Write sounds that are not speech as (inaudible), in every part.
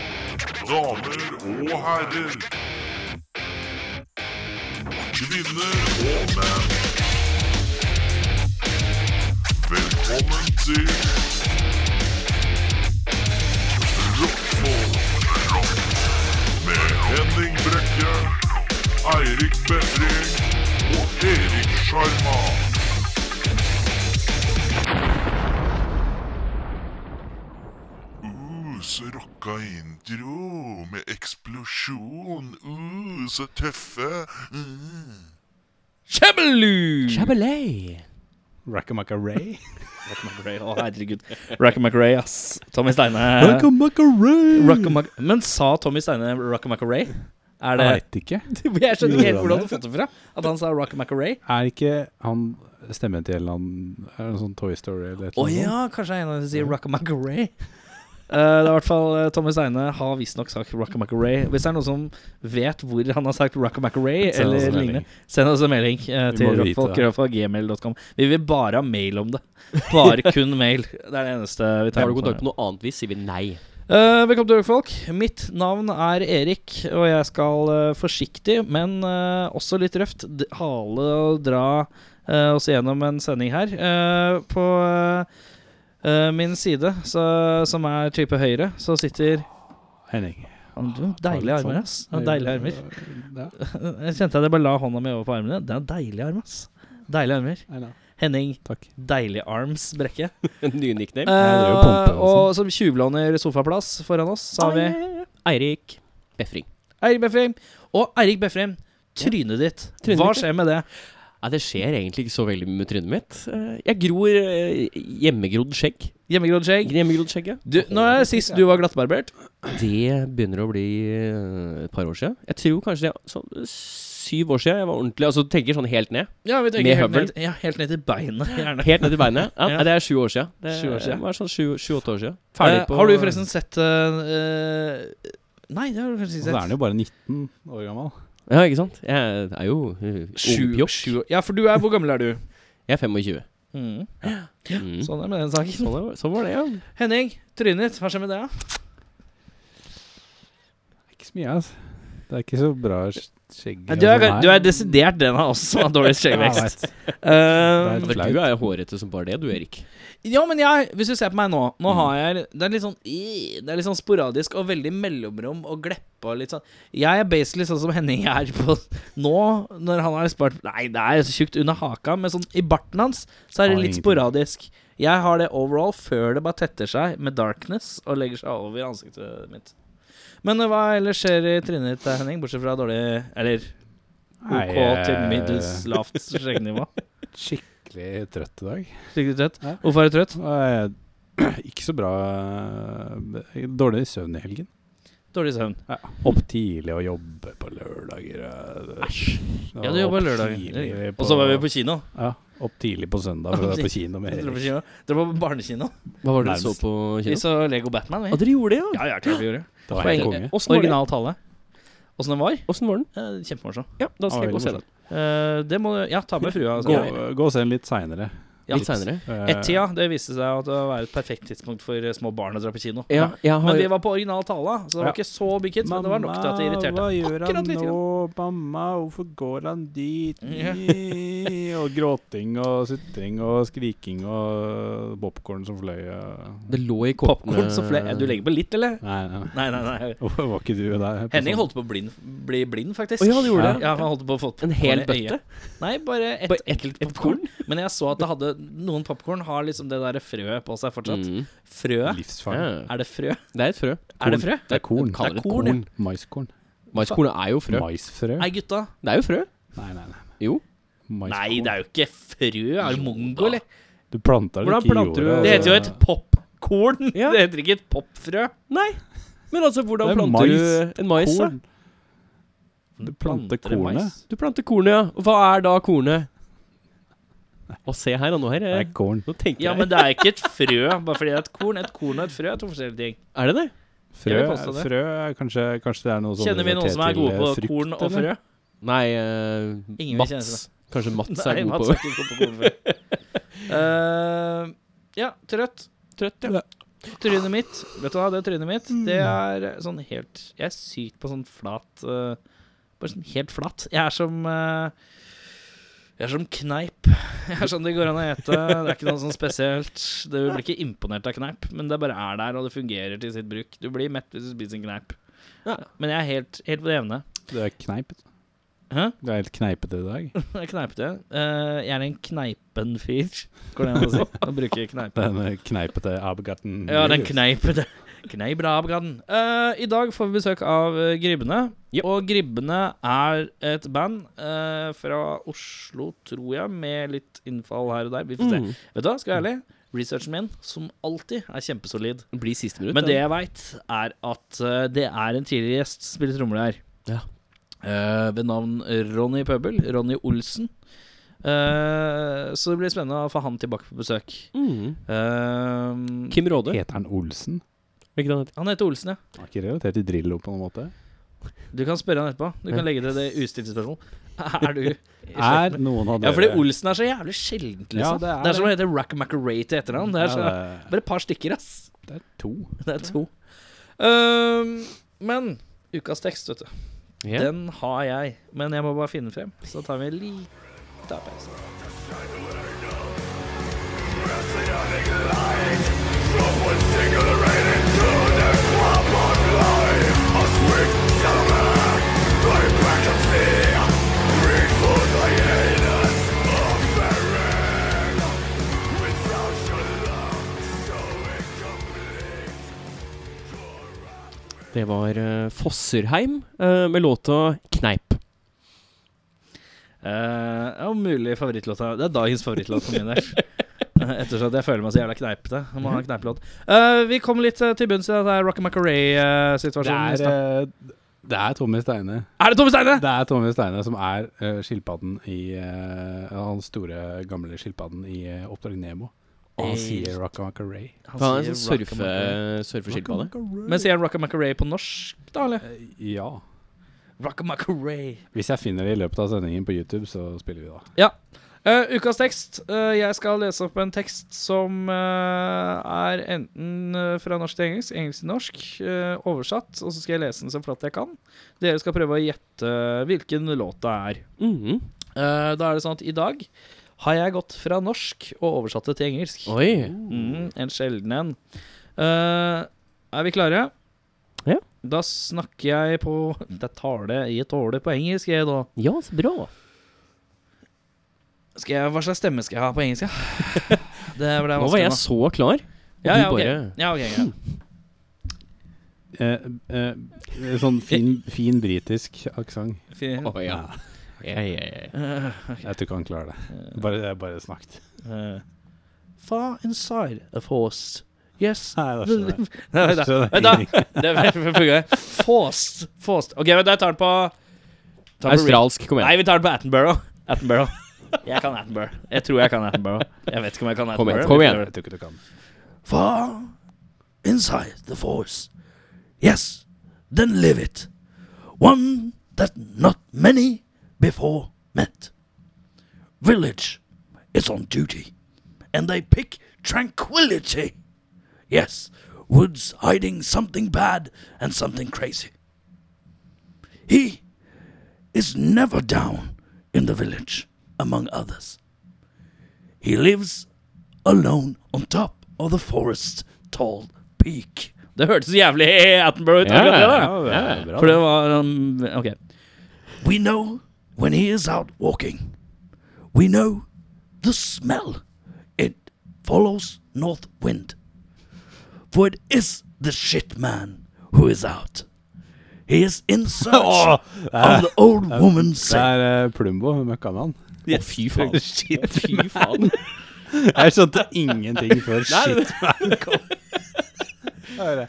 Damer og herrer. Kvinner og menn. Velkommen til Rockfolk med Henning Brekke, Eirik Befring og Erik Sjarma. Uh, så rocka intro med eksplosjon. Uh, så tøffe. Mm. Kjebelu! Chabalay. Rackamacka Ray. Å, herregud. Rackamackaray, ass. Tommy Steine. Rackamacka Ray! Rackamacka- Men sa Tommy Steine Rackamackaray? Er Jeg det veit ikke. (laughs) Jeg skjønner ikke helt hvor du Gjorde han hadde fått det fra. At han sa Rackamackaray. Er ikke han stemmen til en eller annen Er det en sånn Toy Story eller et eller Å annet? ja, kanskje jeg er en av dem som sier Rackamackaray. Eh, det er i hvert fall eh, Tommy Steine har visstnok sagt Rackamackaray. Hvis det er noen som vet hvor han har sagt Rackamackaray, Send oss eller en melding. lignende, send oss en melding eh, Vi til må vite det. rockfolk.gmail.com. Vi vil bare ha mail om det. Bare kun mail. Det er det eneste vi tar Tar du imot. kontakt med noe annet vis, sier vi nei. Eh, velkommen til Rockfolk. Mitt navn er Erik, og jeg skal eh, forsiktig, men eh, også litt røft, d hale og dra eh, oss gjennom en sending her. Eh, på eh, min side, så, som er type høyre, så sitter Henning. Å, du, Deilige litt sånn. armer, ass. Ja, Deilige armer. (laughs) Ja, Jeg kjente jeg det bare la hånda mi over på armene. Det er deilige arm, ass. Deilige armer. I know. Henning Takk. Deilig Arms Brekke. (laughs) Ny nickname. det er jo pumpe, Eh, altså. og som tjuvlåner sofaplass foran oss, så har vi Eirik Befring. Eirik Befrem. Og Eirik Befrem, trynet ditt. Trynet Hva mitt, ja. skjer med det? Nei, det skjer egentlig ikke så veldig mye med trynet mitt. Eh, Jeg gror eh, hjemmegrodd skjegg. Hjemmegrodd skjegg? Hjemmegrodd skjegg, ja. Du, når er det sist du var glattbarbert? Det begynner å bli eh, et par år siden. Jeg tror kanskje det er sånn syv år siden jeg var ordentlig Altså du tenker sånn helt ned. Ja, vi Med helt høvel? ned, ja, helt ned til beinet. Gjerne. Helt ned i beinet. Ja, Ja. nei, Det er sju år siden. Det Sju år siden. var sånn sju- sju-åtte år siden. Eh, har du forresten sett eh, eh, Nei, det har du Og kanskje så ikke er han sett. jo bare 19 år gammel. Ja, ikke sant? Jeg er jo eh, Sju, ungpjokk. sju, ja, for du er Hvor gammel er du? Jeg er 25. Mm. Mm. Sånn er det med den saken. Sånn, var- sånn var det, ja. Henning, trynet ditt, hva skjer med det? da? Ikke så mye, altså. Det er ikke så bra sk- skjegg. Du er, altså, nei. du er desidert den av oss som har dårligst skjeggvekst. (laughs) Ja, jeg vet. Eh, Det For Flaut. du er jo hårete som bare det, du, Erik. Ja, men jeg, hvis du ser på meg nå Nå har Mm. jeg Det er litt sånn i- Det er litt sånn sporadisk og veldig mellomrom og gleppe og litt sånn Jeg er basically sånn som Henning er på (laughs) nå, når han har spart Nei, det er så tjukt under haka, men sånn i barten hans så er det Har litt ingenting. sporadisk. Jeg har det overall før det bare tetter seg med darkness og legger seg over ansiktet mitt. Men eh, hva ellers skjer i trynet ditt, eh, Henning, bortsett fra dårlig Eller Nei, OK jeg til er middels lavt (laughs) skjeggnivå? Skikkelig trøtt i dag. Skikkelig trøtt. Ja. Hvorfor er du trøtt? Og jeg (clears throat) er ikke så bra eh, Dårlig søvn i helgen. Dårlig søvn. Ja. Opp tidlig og jobbe på lørdager. eh, og Ja, du jobba opp lørdag. tidlig Og så var vi på kino. Ja, opp tidlig på søndag for å være på kino (laughs) med Dere var på Erik. kino. Dere var på barnekino. Hva var det du Nærmest. så på Vi kino? så Lego Batman, Ja, vi. dere gjorde det, ja? Ja, ja, klart vi gjorde det. Det var Poeng. helt konge. Åssen var, Original tale. Åssen den var? det? Åssen var den? Eh, Kjempemorsom. Ja, da skal Ja, jeg gå og se veldig den. Eh, Det må du Ja, ta med frua. Gå, Altså. gå og se den litt eh, seinere. Ja. Litt seinere. Ett-tida. Det viste seg at det var et perfekt tidspunkt for eh, små barn å dra på kino. Ja, jeg Men har vi var på original tale, så det var Ja. eh, ikke så big hit. Men det var nok til at det irriterte. hva gjør Akkurat han litt nå? Mamma, hvorfor går han dit? Ja. og gråting og sutring og skriking og popkorn som fløy. Og... Det lå i koppen Popkorn som flere Du legger på litt, eller? Nei, nei. Nei, nei, (laughs) nei. Hvorfor var ikke du der? på Henning sånn? holdt på å blind, bli blind, faktisk. Å ja, han gjorde det. Ja, han holdt på å få En hel popcorn i øyet. bøtte? Nei, bare ett Bare ett- enkelt ett popkorn. Men jeg så at det hadde noen popkorn har liksom det derre frøet på seg fortsatt. Mm. Frøet? Livsfarlig. Ja. Er det frø? Det er et frø. Er det frø? Det er korn. De kaller Det det er korn, korn. ja. Maiskorn. Maiskornet er jo frø. Maisfrø? Nei, gutta. Det er jo frø. Nei, nei, nei. Jo. Maiskorn. Nei, det er jo ikke frø. Er det mongo, eller? Du planter det Hvordan ikke i planter du- jorda. Det heter jo et popkorn. altså. Ja. (laughs) Det heter ikke et popfrø. Nei. Men altså, hvordan Det er planter mais. du en mais? da? Korn. Du planter Planter det kornet. mais? Du planter kornet, ja. Og hva er da kornet? Og se her, da. Nå her Det eh, er korn. Nå tenker Ja, jeg. men det er ikke et frø bare fordi det er et korn. Et korn og et frø er to forskjellige ting. Er det det? Frø, vil påstå det. frø er kanskje, kanskje det er noe sånn Kjenner vi noen relatert som er til, gode eh, på frukt, korn og eller? frø? Nei eh, Ingen vil kjenne (laughs) Mats. Kanskje Mats er god Mats på er ikke god på korn og frø. Eh, Ja, trøtt. Trøtt, ja. Trynet mitt. Vet du hva, det trynet mitt, det er sånn helt Jeg er sykt på sånn flat eh, Bare sånn helt flatt. Jeg er som eh, Jeg er som kneip. (laughs) Jeg er sånn det går an å ete. Det er ikke noe sånn spesielt. Du blir ikke imponert av kneip, men det bare er der, og det fungerer til sitt bruk. Du blir mett hvis du spiser en kneip. Ja. Men jeg er helt, helt på det jevne. Det er kneipet. Hæ? Det er helt kneipete i dag. (laughs) Jeg er Kneipete. Eh, jeg er en kneipen fyr, går det an å si. Å bruke kneip. Den kneipete Abgatten. Ja, den kneip (laughs) det. Kneip Rabgaden. Eh, I dag får vi besøk av eh, Gribbene. Yep. Og Gribbene er et band eh, fra Oslo, tror jeg, med litt innfall her og der. Vi får se. Mm. Vet du hva, skal jeg være ærlig? Researchen min, som alltid, er kjempesolid. Blir siste minutt. Men det da. jeg veit, er at eh, det er en tidligere gjest som spiller trommer der. Ja. Eh, ved navn Ronny Pøbel. Ronny Olsen. Eh, så det blir spennende å få han tilbake på besøk. mm. Eh, Kim Råde. Heter han Olsen? Hva heter han? han heter Olsen, ja. Han er ikke relatert til Drillo på noen måte? Du kan spørre han etterpå. Du kan legge til det ustilte (laughs) spørsmål. Er du i slekt Er med- noen av dere Ja, fordi Olsen er så jævlig sjeldent, liksom. Ja, det, det er er som å hete Rack McRae til etternavn. Det er så, Ja, det bare et par stykker, ass. er- det er to. Det er to. Ehm, men ukas tekst, vet du. Ja. Den har jeg. Men jeg må bare finne den frem. Så tar vi en liten pause. Det var eh, Fosserheim eh, med låta 'Kneip'. Eh, ja, mulig favorittlåta. Det er dagens favorittlåt for (laughs) min del. Eh, Ettersom at jeg føler meg så jævla kneipete. Jeg må ha en kneipelåt. Eh, vi kom litt eh, til bunns i denne Rocky Det McRae-situasjonen. er, eh, det er Tommy Steine. er det Tommy Steine? Det er Tommy Steine som er eh, skilpadden i eh, Han store, gamle skilpadden i eh, Oppdrag Nemo. Og han Hey. sier Rockamakare. Han er en sånn Rocky surfe, McRae. surfeskilpadde. Men sier han Rocky McRae på norsk, da, eller? Eh, Ja. Rocky McRae. Hvis jeg finner det i løpet av sendingen på YouTube, så spiller vi da. Eh, ukas tekst. Eh, jeg skal lese opp en tekst som eh, er enten eh, fra norsk til engelsk, engelsk til norsk, eh, oversatt, og så skal jeg lese den så flatt jeg kan. Dere skal prøve å gjette hvilken låt det er. Mhm. Eh, da er det sånn at i dag har jeg gått fra norsk og oversatt det til engelsk. Oi. Mm, en sjelden en. Eh, er vi klare? Ja. Da snakker jeg på (laughs) Det er tale i tåle på engelsk, jeg, da. Ja, så bra. Skal jeg, hva slags stemme skal jeg ha på engelsk? Ja? (laughs) Det ble Nå var vanskelig jeg nå. så klar, og du Ja, ja, ok. bare Ja, ok, greit. Eh, eh, sånn fin, fin britisk aksent. Fin. Å ja. Ja, ja, ja. Eh, Jeg tror ikke han klarer det. Bare, jeg bare snakket. (laughs) eh, far inside a force. Yes. Nei, da skjønner jeg. (laughs) Nei, vent da. Skjønner jeg Vent da. ingenting. Det var- det fungerer. Forced. Forced. OK, vent, da, jeg tar den på tar den på Rick. Australsk, kom igjen. Nei, vi tar den på Attenborough. Attenborough. (laughs) Jeg kan Attenborough. Jeg tror jeg kan Attenborough. Jeg vet ikke om jeg kan Kom igjen, Attenborough. kom igjen. Jeg tror ikke du kan. Far inside the force. Yes, then live it. One that not many before met. Village is on duty, and they pick tranquility. Yes, woods hiding something bad and something crazy. He is never down in the village among others. He lives alone on top of the forest tall peak. Det hørtes jævlig Attenborough ut. Ja, akkurat det da. ja, det er bra. For det var um, Ok. We know when he is out walking. We know the smell. It follows north wind. For it is the shit man who is out. He is (laughs) in (laughs) search of the old Det woman's sake. er eh, Plumbo, møkkamann. Å, fy faen. (laughs) Shit. Fy faen. Jeg skjønte ingenting før shit. (laughs)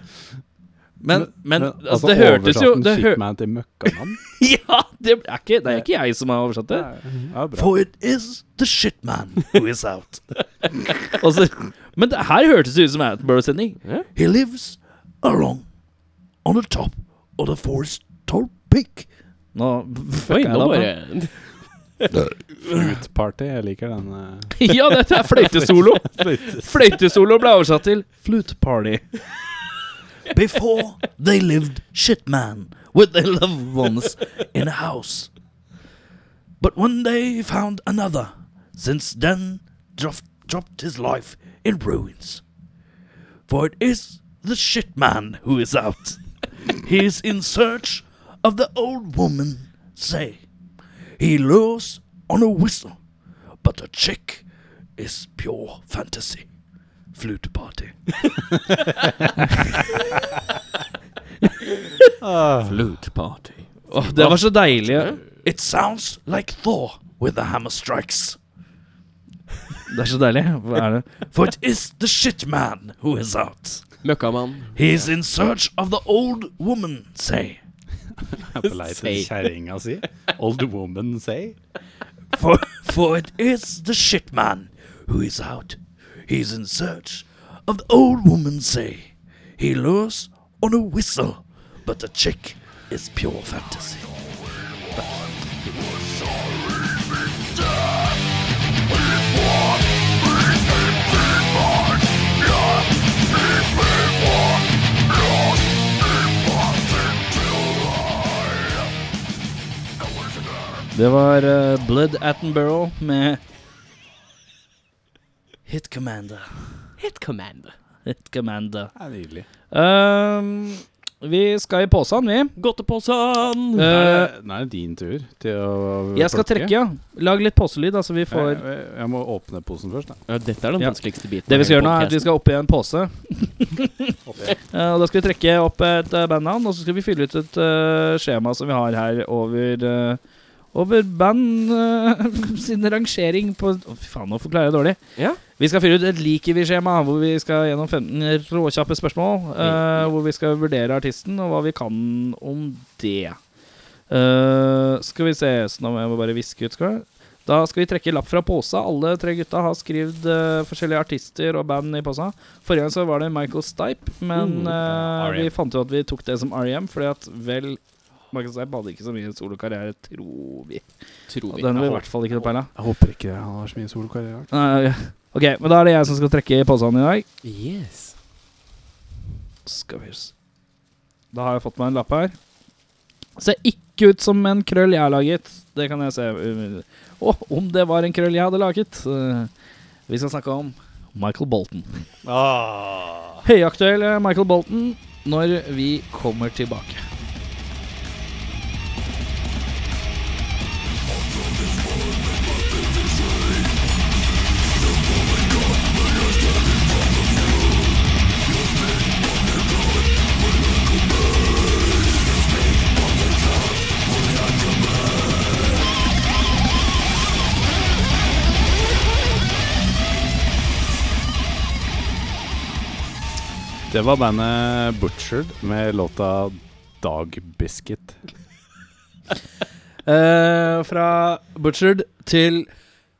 Men, men, altså, det oversatte hørtes jo den det hør, Shitman til møkkamann. (laughs) Ja, det er, ikke, det er ikke jeg som har oversatt det. Ja, bra. For it is the shit man who is out. (laughs) Og så- (laughs) men det her hørtes det ut som Attenborough-sending. He lives along on the top of the forest tall peak. Nå Oi, fucka jeg nå det opp, da. bare Flute-party. Jeg liker den. eh, ja, dette er (laughs) fløytesolo! flute. Fløytesolo ble oversatt til flute party. (laughs) Before they lived shit man with their loved ones in a house. But one day found another. Since then, drof- dropped his life in ruins. For it is the shit man who is out. he is in search of the old woman, say. He lures on a whistle, but the chick is pure fantasy. Flute party. Flute party. Åh, det var så deilig. Ah. It sounds like Thor with the hammer strikes. Det er så deilig. Hva er det? For it is the shit man who is out. Møkkamann. He is in search of the old woman, say. (laughs) Jeg er på lei til Say. kjerringa si. Old woman say. For, for it is the shit man who is out. He is in search of the old woman, say. He lures on a whistle, but the chick is pure fantasy. Det var eh, Blood Attenborough med Hit commander. Hit Commander. Hit Commander. Det er nydelig. Ehm, vi skal i posen, vi. Godteposen! Nå er Eh, det- nå er det din tur til å jeg skal trekke, ja. Lag litt poselyd, da, så vi Jeg, får jeg, jeg må åpne posen først, da. Ja, dette er den Ja. vanskeligste biten. Det av vi skal hele gjøre nå, er at vi podcasten. skal opp i en pose. Eh, og da skal vi trekke opp et eh, bandnavn, og så skal vi fylle ut et eh, skjema som vi har her over eh, over band eh, (laughs) sin rangering på Å, Fy faen, nå forklarer jeg dårlig. Ja. Vi skal fylle ut et liker-vi-skjema, hvor vi skal gjennom 15 råkjappe spørsmål. eh, Hvor vi skal vurdere artisten, og hva vi kan om det. Eh, skal vi se så Nå må jeg bare viske ut. Skal jeg? Da skal vi trekke lapp fra posa. Alle tre gutta har skrevet eh, forskjellige artister og band i posa. Forrige gang så var det Michael Stipe, men Mm. eh, R.E.M.. vi fant jo at vi tok det som R.E.M., fordi at vel Michael Stipe hadde ikke så mye solokarriere, tror vi. Tror Og vi. den har vi i håper- hvert fall ikke noe peil av. Jeg håper ikke han har så mye solkarriere. Nei, Ok, men da er det jeg som skal trekke i posen i dag. Yes. Skal vi s- Da har jeg fått meg en lapp her. Ser ikke ut som en krøll jeg har laget. Det kan jeg se. Å, om det var en krøll jeg hadde laget. Eh, Vi skal snakke om Michael Bolton. Høyaktuell eh, Michael Bolton når vi kommer tilbake. Det var bandet Butchered med låta Dog Biscuit. Eh, fra Butchered til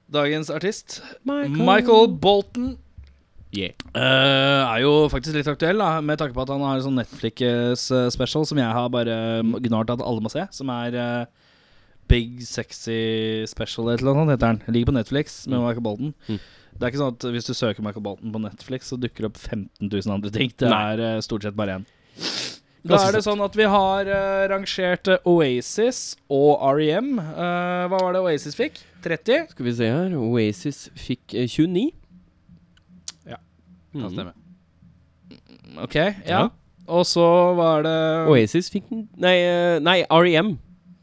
dagens artist, Michael, Bolton. Yeah. Eh, er jo faktisk litt aktuell, da, med tanke på at han har en sånn Netflix-special som jeg har bare eh, gnart at alle må se, som er eh, Big Sexy Special eller noe sånt heter den. Den Ligger på Netflix med Mm. Michael Bolton. Mm. Det er ikke sånn at hvis du søker Michael Bolton på Netflix, så dukker det opp 15 000 andre ting. Det Nei. er eh, stort sett bare én. Da er det sånn at vi har eh, rangert eh, Oasis og REM. Eh, hva var det Oasis fikk? 30? Skal vi se her. Oasis fikk eh, 29. Ja, Mm. Ok, ja. Ja. Og så var det Oasis fikk n- Nei, eh, nei REM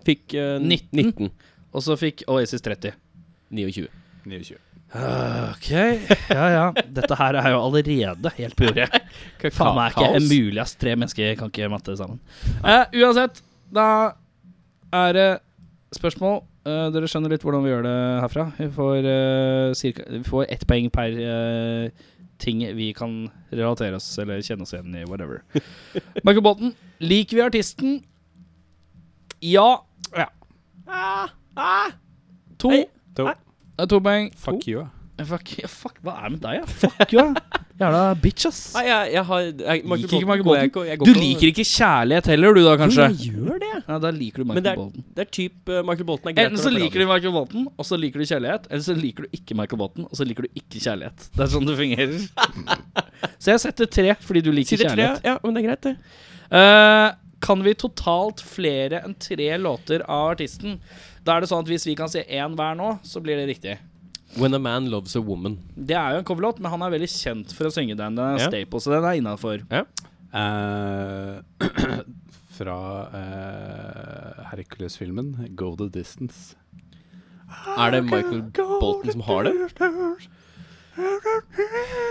fikk eh, n- 19. 19. Og så fikk Oasis Ah, 30. 29. 29. Ok, ja ja. Dette her er jo allerede helt på (laughs) jordet. Faen meg er ikke mulig, ass. Tre mennesker kan ikke matte sammen. Eh, uansett, da er det spørsmål. Eh, dere skjønner litt hvordan vi gjør det herfra. Vi får, eh, cirka, vi får ett poeng per eh, ting vi kan relatere oss eller kjenne oss igjen i, (laughs) whatever. Michael Bolton, liker vi artisten? Ja. Ah, Ja. To. Nei. To. Nei. Det er to poeng. Fuck you, ja. Fuck, ja, fuck, hva er det med deg, ja? Fuck you, ja. Jævla bitch, ass. Nei, jeg, jeg har jeg, Liker ikke Michael går jeg Bolton? ikke- jeg går Du på- liker ikke kjærlighet heller, du da, kanskje? Jo, jeg gjør gjør det. Ja, da liker du Men det Michael er, Bolton. det er typ eh, Michael Bolton er greit. Enten å så reparere. liker du Michael Bolton, og så liker du kjærlighet. Eller så liker du ikke Michael Bolton, og så liker du ikke kjærlighet. Det er sånn det fungerer. (laughs) så jeg setter tre fordi du liker Sider tre, kjærlighet. ja, men det er greit, det. Eh, kan vi totalt flere enn tre låter av artisten? Da er det sånn at hvis vi kan si én hver nå, så blir det riktig. When a man loves a woman. Det er jo en coverlåt, men han er veldig kjent for å synge den. Den er Ja. staple, så den er innafor. Eh, (clears throat) fra eh, Hercules-filmen 'Go the Distance'. Er det Michael Bolton som har det?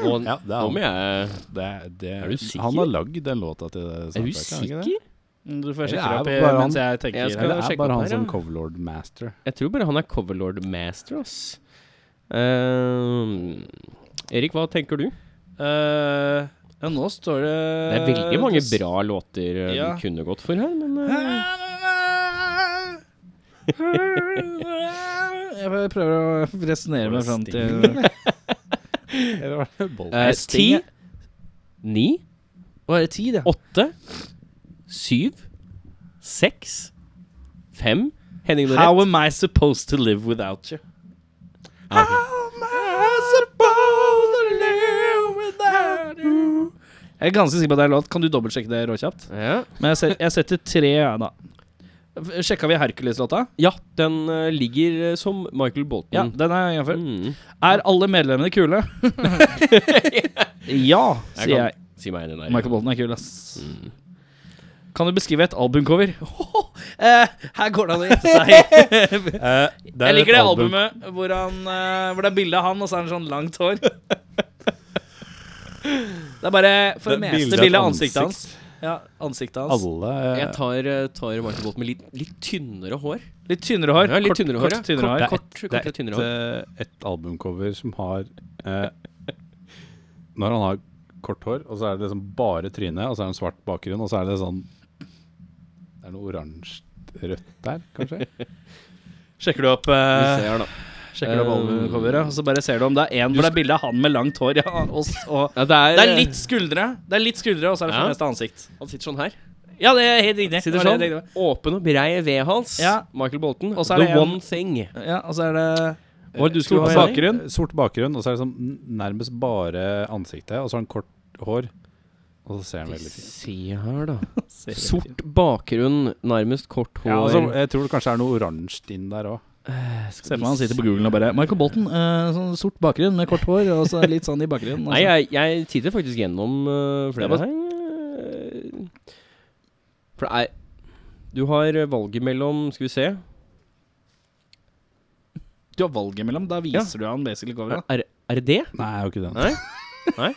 Og, Ja, det er han. nå må jeg Det, det, Er du sikker? Han har lagd den låta til det. Er du soundtracket, han ikke det? sikker? Du får Det sjekke er det opp i, bare han- mens jeg tenker. Jeg skal- Eller det sjekke er opp bare han her, som ja. coverlord master. Jeg tror bare han er coverlord master, ass. Ehm, Erik, hva tenker du? Eh, ja, nå står Eh, det Det er veldig mange bra låter eh, ja. vi kunne gått for her, men eh, Jeg bare prøver å resonnere meg fram til (laughs) eh, Ti, Sting, ni, Hva er det, tid, ja? åtte, syv, seks, fem Henning Norett. How am I supposed to live without you? Ah, Ah. Jeg er ganske sikker på at det er låt. Kan du dobbeltsjekke det råkjapt? Ja. Men jeg, set, jeg setter tre, ja, da. F- Sjekka vi Hercules-låta? ja, den eh, ligger eh, som Michael Bolton. Ja, den er jeg innenfor. Mm. Er alle medlemmene (laughs) kule? ja, (laughs) sier kan- jeg. Si meg den der. Mm. Michael Bolton er kul, ass. Kan du beskrive et albumcover? (laughs) Eh, her går det an å gjette (laughs) seg. Eh, Jeg liker det albumet hvor, han, eh, hvor det er bilde av han, og så er han sånn langt hår. Det er bare for det, meste bilde av ansiktet hans. Ja, ansiktet hans. Alle Jeg tar, eh, tar Michael Bolton med litt, litt tynnere hår. Litt tynnere hår. Ja, litt kort, tynnere hår, ja. kort, tynnere Det hår. er Kort, ett- kortere, det er tynnere ett eh, ett albumcover som har eh, (laughs) Når han har kort hår, og så er det liksom bare trynet, og så er det en svart bakgrunn, og så er det sånn Det er noe oransje-rødt der, (laughs) kanskje? (laughs) Sjekker du opp, Vi eh, ser her, da. sjekker du opp eh, albumcoveret, og så bare ser du om det er én hvor det er bilde av han med langt hår. Ja, og, s- og, Ja, det, er, eh, eh, det er litt skuldre, Det er litt skuldre, og så er det for Ja. det meste ansikt. Han sitter sånn her. Ja, det er helt riktig. Sitter Det var sånn. det jeg tenkte på. Åpen og brei vedhals. Ja. Michael Bolton. Og så er The det en- One Thing. Ja, og så er det Hva var det du Stor skulle ha bakgrunn. Henning? Eh, Sort bakgrunn, og så er det sånn n- nærmest bare ansiktet, og så har han kort hår, og så ser han veldig fin Se her, (laughs) (laughs) da. Sort bakgrunn, nærmest kort hår. Eh, Ja, altså, jeg tror det kanskje er noe oransje inn der òg. Se for meg han sitter på Google og bare Michael Bolton, eh, sånn sort bakgrunn med kort hår og så litt sånn i bakgrunnen. Nei, jeg, jeg titter faktisk gjennom eh, Det flere var- her. For det er Du har eh, valget mellom Skal vi se. Du har valget mellom. Da viser du han basically coveret. Er, er det det? Nei, jeg har ikke den. Nei? Nei.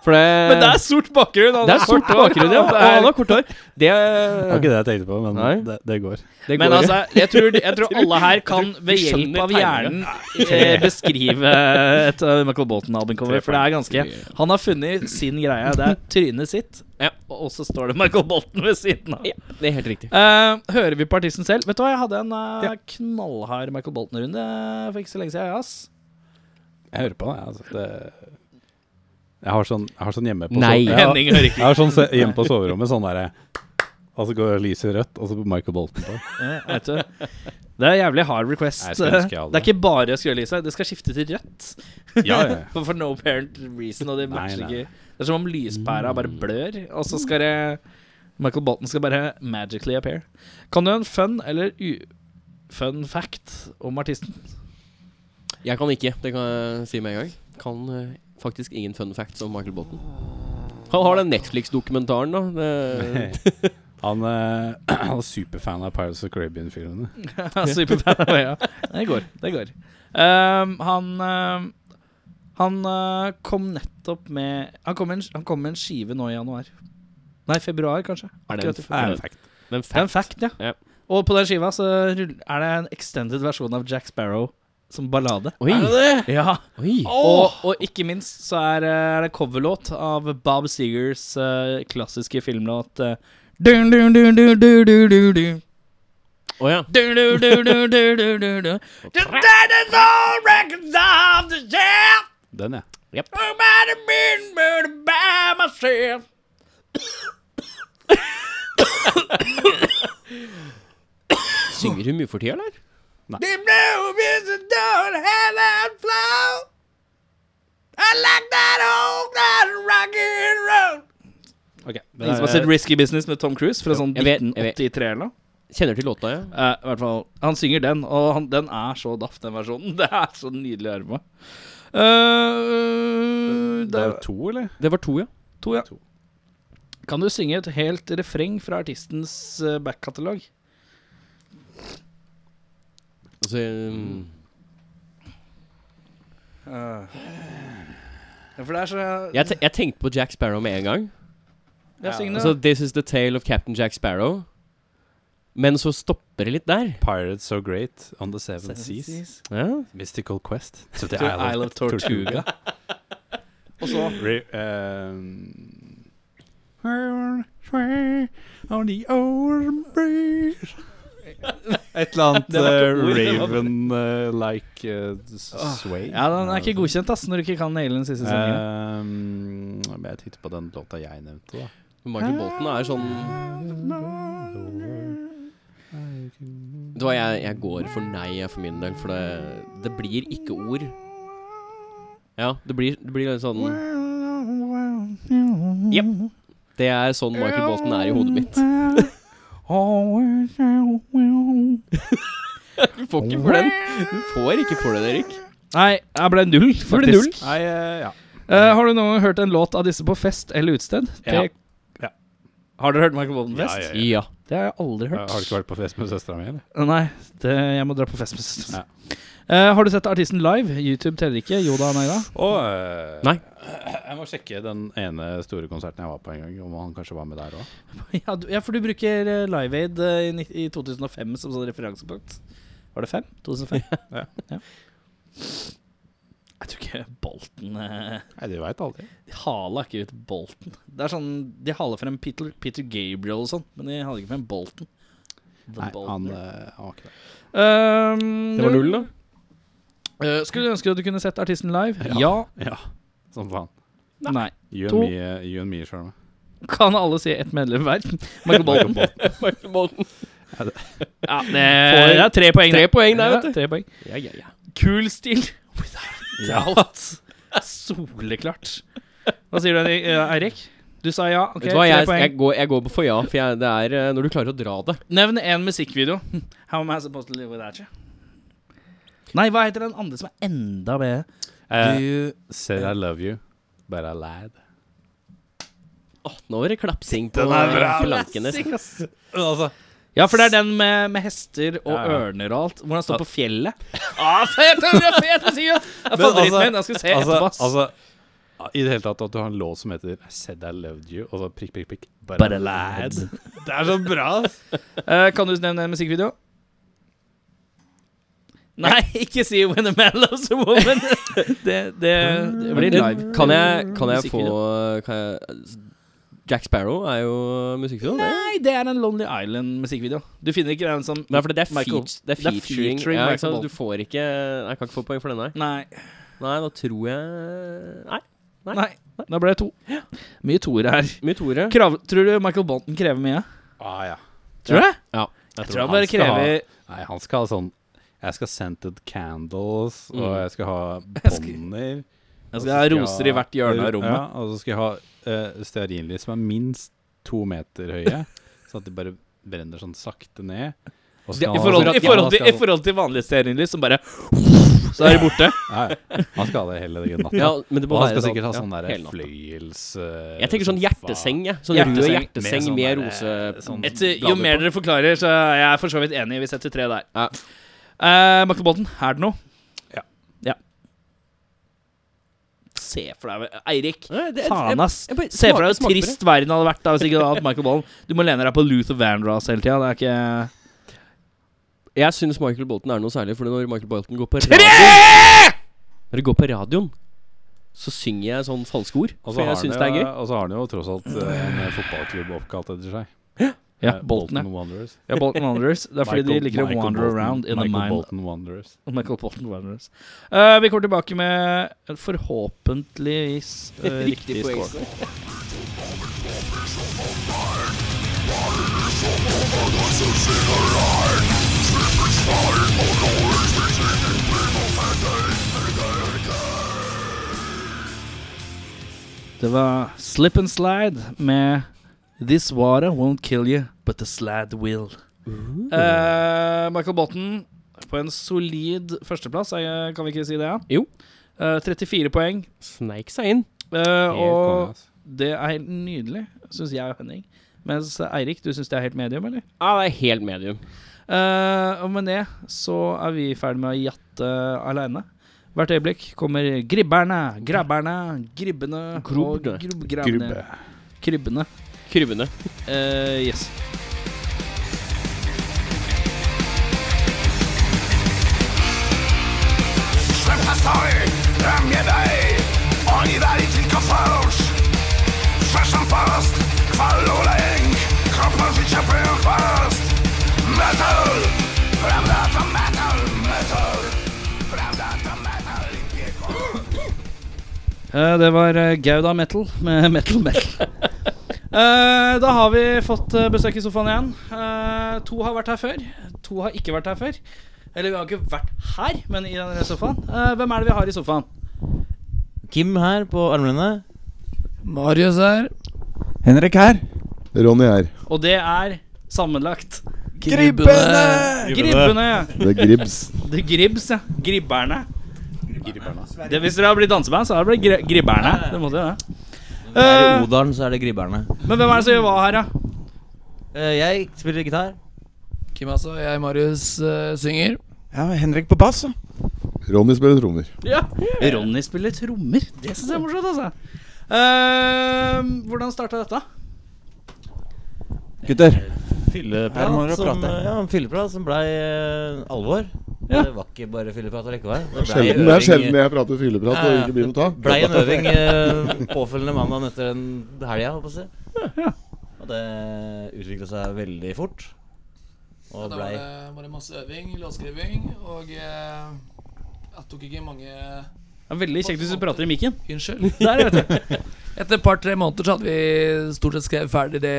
For det Men det Eh, er sort bakgrunn! Han Det er sort bakgrunn, ja. Og han har kort hår. Det, Det var ikke det jeg tenkte på, Nei. men det, det går. det Men går. altså, jeg tror, (laughs) jeg tror alle her kan ved vi hjelp skjønner av hjernen eh, beskrive et eh, Michael Bolton-albumcover. For det er ganske Han har funnet sin greie. Det er trynet sitt, Ja. og så står det Michael Bolton ved siden av. ja, det er helt riktig. Eh, hører vi på artisten selv? Vet du hva, jeg hadde en eh, knallhard Michael Bolton-runde for ikke så lenge siden. Ass. Jeg hører på den, jeg. Altså. Det, jeg, har sånn, jeg har sånn hjemme på Nei. sove- jeg, har- Henning hører ikke. jeg har sånn se- hjemme på soverommet sånn derre Og så går lyset rødt, og så på Michael Bolton på. Ja, vet du. Det er jævlig hard request. Jeg skulle ønske jeg hadde det er ikke bare skrølyset. Det skal skifte til rødt. Ja, ja, ja. (laughs) For for no parent reason. Og det Nei, matcher nei. ikke Det er som om lyspæra bare blør, og så skal det Michael Bolton skal bare magically appear. Kan du en fun eller u fun fact om artisten? Jeg kan ikke, det kan jeg si med en gang. Kan eh, faktisk ingen fun facts om Michael Bolton. Han har den Netflix-dokumentaren, da. Det, (laughs) (laughs) Han, eh, (clears throat) han er superfan av Pirates of Caribbean-filmene. (laughs) Superbad ja. Det går. Det går. Ehm, han ehm, han eh, kom nettopp med han kom, med en, han kom med en skive nå i januar. Nei, februar, kanskje. Er det en Akkurat i f- februar. er det den Det er en fact. fact, ja. Ja. Og på den skiva så rull- er det en extended versjon av Jack Sparrow som ballade. Oi, Ja oi. og, og ikke minst så er, eh, er det coverlåt av Bob Seegers eh, klassiske filmlåt eh, dun, dun, dun, dun, dun, dun, dun, dun. Å ja. Du, du, du, du, du, du, du, du. The dead is all records of the dead. Den, ja. I might have been murdered by myself. Synger hun mye for tida, eller? Ok, det Ingen som har er, sett Risky Business med Tom Cruise fra sånn Jeg vet, jeg vet. 1983 eller noe? Kjenner til låta, ja. Eh, I hvert fall, Han synger den, og han, den er så daff, den versjonen. (laughs) Det er så nydelig å høre på. Eh, det det er er jo to, eller? Det var to, ja. to, ja. Kan du synge et helt refreng fra artistens eh, backkatalog? Altså, um, Eh. Ja, for det er så jeg, te jeg tenkte på Jack Sparrow med en gang. Ja, syng det. Altså, This is the tale of Captain Jack Sparrow. Men så stopper det litt der. Pirates so great on the seven seas. Ja. Mystical quest to the To Isle of Tortuga. Og så Re um, on the old bridge. Et eller annet Det var ikke eh, ord, det var- Raven-like eh, sway. Ja, den er ikke godkjent, ass, når du ikke kan naile den Eh, siste sangen. Um, Eh, men jeg tenkte på den låta jeg nevnte, da. Michael Bolton er sånn Det var jeg, jeg går for nei jeg, for min del, for det, det blir ikke ord. Ja, det blir, det blir litt sånn Jepp. Det er sånn Michael Bolton er i hodet (laughs) mitt. Du får ikke for den. Du får ikke for den, Erik. Nei, jeg ble (laughs) null, ble faktisk. null. Nei, eh, ja. Eh, har du noen gang hørt en låt av disse på fest eller utested? Ja. Det- Ja. Har dere hørt Michael Bolton-fest? Ja, ja, ja. Ja. Det har jeg aldri hørt. Har du ikke vært på fest med søstera mi, eller? Eh, Nei, det, jeg må dra på fest med søsteren. Eh, har du sett artisten live? YouTube teller ikke. Yoda Naira. Og, eh, Nei. (clears throat) Jeg må sjekke den ene store konserten jeg var på en gang, om han kanskje var med der òg. (laughs) ja, du, ja, for du bruker eh, Live Aid eh, i, nitt- i 2005 som sånn referansepunkt. Var det fem? 2005? Ja. Jeg tror ikke Bolten eh, Nei, du veit aldri. De hala ikke ut Bolten. Det er sånn, De hala frem Peter, Peter Gabriel og sånn, men de hala ikke frem Bolten. The Nei, han, Bolton. eh, han var ikke der. Ehm, Det var null, da. eh, skulle du ønske at du kunne sett artisten live? Ja. (laughs) Ja, som faen. Nei. Nei. You To. and me, eh, you and me Sharma. Kan alle si ett medlem hver? Michael Bolton. (laughs) Michael Bolton. Ja, det, det er tre poeng. Tre poeng der, vet du. Ja, tre poeng. Ja, ja, ja. Kul stil. (laughs) Without doubt. Soleklart. Hva sier du, Eirik? Du sa ja. Ok, Vet du hva, tre jeg, poeng. jeg, går, jeg går for ja, for jeg, det er eh, når du klarer å dra det. Nevn én musikkvideo. How am I supposed to live without you? Nei, hva heter den andre som er enda bedre? Eh, said I love you, but I lied. Åh, nå var det klapsing på Den er bra. på lankene. Altså. Ja, for det er den med, med hester og Ja, ja. ørner og alt. Hvor han står på fjellet. Ah, fet, den er fet musikk! ass! Det er Men favoritten altså- min. Den skal vi se Altså, etterpå. ass. altså I det hele tatt at du har en låt som heter I said I loved you, og så prikk, prikk, prikk. But, But I lied. lied. Det er så bra! ass. Eh, kan du nevne en musikkvideo? Nei, (laughs) ikke si 'When a man loves a (laughs) woman'. det, det, det blir live. Mm, Kan jeg, kan jeg få musikkvideo. kan jeg, Jack Sparrow er jo musikkvideo. det. Nei, det er en Lonely Island-musikkvideo. Du finner ikke den som Nei, for det er, Michael. feat, det er Det er featuring. featuring ja, Michael ikke sant? Bolton. Du får ikke Jeg kan ikke få poeng for den, nei. Nei. Nei, da tror jeg Nei. Nei. Da ble det to. Mye toere her. Mye Tore. Krav, tror du Michael Bolton krever mye? Ah, ja. Tror du det? Ja. Jeg tror han bare skal ha- krever Nei, han skal ha sånn Jeg skal ha scented candles, og Mm. jeg skal ha (laughs) Jeg skal- bånder. Jeg skal ha roser i hvert hjørne Ja, av rommet. og så skal jeg ha uh, stearinlys som er minst to meter (laughs) høye, sånn at de bare brenner sånn sakte ned. Og så skal Det- I han- forhold, altså, i forhold, til, han i skal- forhold til vanlige stearinlys som bare (laughs) Så er de borte. Ja, ja. Han skal ha det hele natta. Ja, men det og må han skal være da- sikkert ha ja, sånn der hele natta. fløyels... eh, Jeg tenker sånn hjerteseng, jeg. Sånn rød Hjerteseng. Med hjerteseng sånn med der, rose... eh, sånn- Et, jo mer dere forklarer, så er jeg for så vidt enig. Vi setter tre der. Ja. Eh, Michael Bolton, er det noe? Ja. Ja. Se for deg Eirik. Nei, det- jeg- Faen, ass. jeg bare- Se for smak- deg smak hvor på det. trist verden hadde vært da hvis ikke du hadde hatt Michael Bolton. Du må lene deg på Luther Vandross hele tida. Det er ikke Jeg syns Michael Bolton er noe særlig, for når Michael Bolton går på radioen Når det går på radioen, så synger jeg sånn falske ord. Og for så har jeg han syns jo- det er gøy. Og så har han jo tross alt eh, en fotballklubb oppkalt etter seg. Ja, Eh, Bolton, ja. Wanderers. ja. Bolton Wanderers. Det er fordi de liker å wander Bolton, around in Michael the mind Bolton Wanderers. Og (laughs) Michael Bolton Wanderers. Eh, vi kommer tilbake med (laughs) Eh, (laughs) forhåpentligvis eh, riktig score. poengscore. Det var Slip and Slide med This water won't kill you, but the slide will. Eh, Michael Botten på en solid førsteplass, eh, kan vi ikke si det? ja? Jo. Eh, 34 poeng. Sneik seg inn. Eh, Helt konge, altså. og ass. det er helt nydelig, syns jeg og Henning. Mens eh, Eirik, du syns det er helt medium, eller? Ja, det er helt medium. Eh, og med det så er vi ferdig med å jatte aleine. Hvert øyeblikk kommer gribberne, grabberne, gribbene Grubbene. og grubbgrabbene. Grubbe. Krybbene. Krybbende. Eh, yes. Szef na stoi, ramię daj Oni dali tylko fałsz Przeszłam fast, kwalą lęk Kropa życia pył fast Metal, prawda to metal Metal, prawda to metal I piekło Eh, det var eh, Gouda Metal med (laughs) Metal Metal. Eh, da har vi fått eh, besøk i sofaen igjen. Eh, to har vært her før. To har ikke vært her før. Eller vi har ikke vært her, men i denne sofaen. Eh, hvem er det vi har i sofaen? Kim her på armlenet. Marius her. Henrik her. Ronny her. Og det er sammenlagt Gribbene! Gribbene! ja. Det er Gribbs. The Gribs, ja. Gribberne. Det, hvis dere har blitt danseband, så har det blitt gri Gribberne. Det måtte jo det. Her i Eh, Odalen så er det Gribberne. men hvem er det som gjør hva her, da? Eh, jeg spiller gitar. Kim altså, jeg, Marius, eh, synger. Ja, Henrik på bass. da. Ronny spiller trommer. Ja. Ronny spiller trommer. Det syns jeg er morsomt, altså. Ehm, hvordan starta dette? Gutter. Ja, Fyllepermer og som, prate. eh, Ja, en fylleprat som blei eh, alvor. Ja. Det var ikke bare fylleprat og lekevei. Det blei Sjelden, det er sjelden jeg prater fylleprat og Ja, ja. ikke blir noe av. Blei en øving eh, påfølgende mandagen etter den helga, holdt på å si. Og det utvikla seg veldig fort. Da Og var blei det, var det masse øving, låtskriving, og eh, jeg tok ikke mange Det er veldig kjekt hvis du prater i mikken. Unnskyld. (laughs) Der, vet du. (laughs) Etter et par-tre måneder så hadde vi stort sett skrevet ferdig det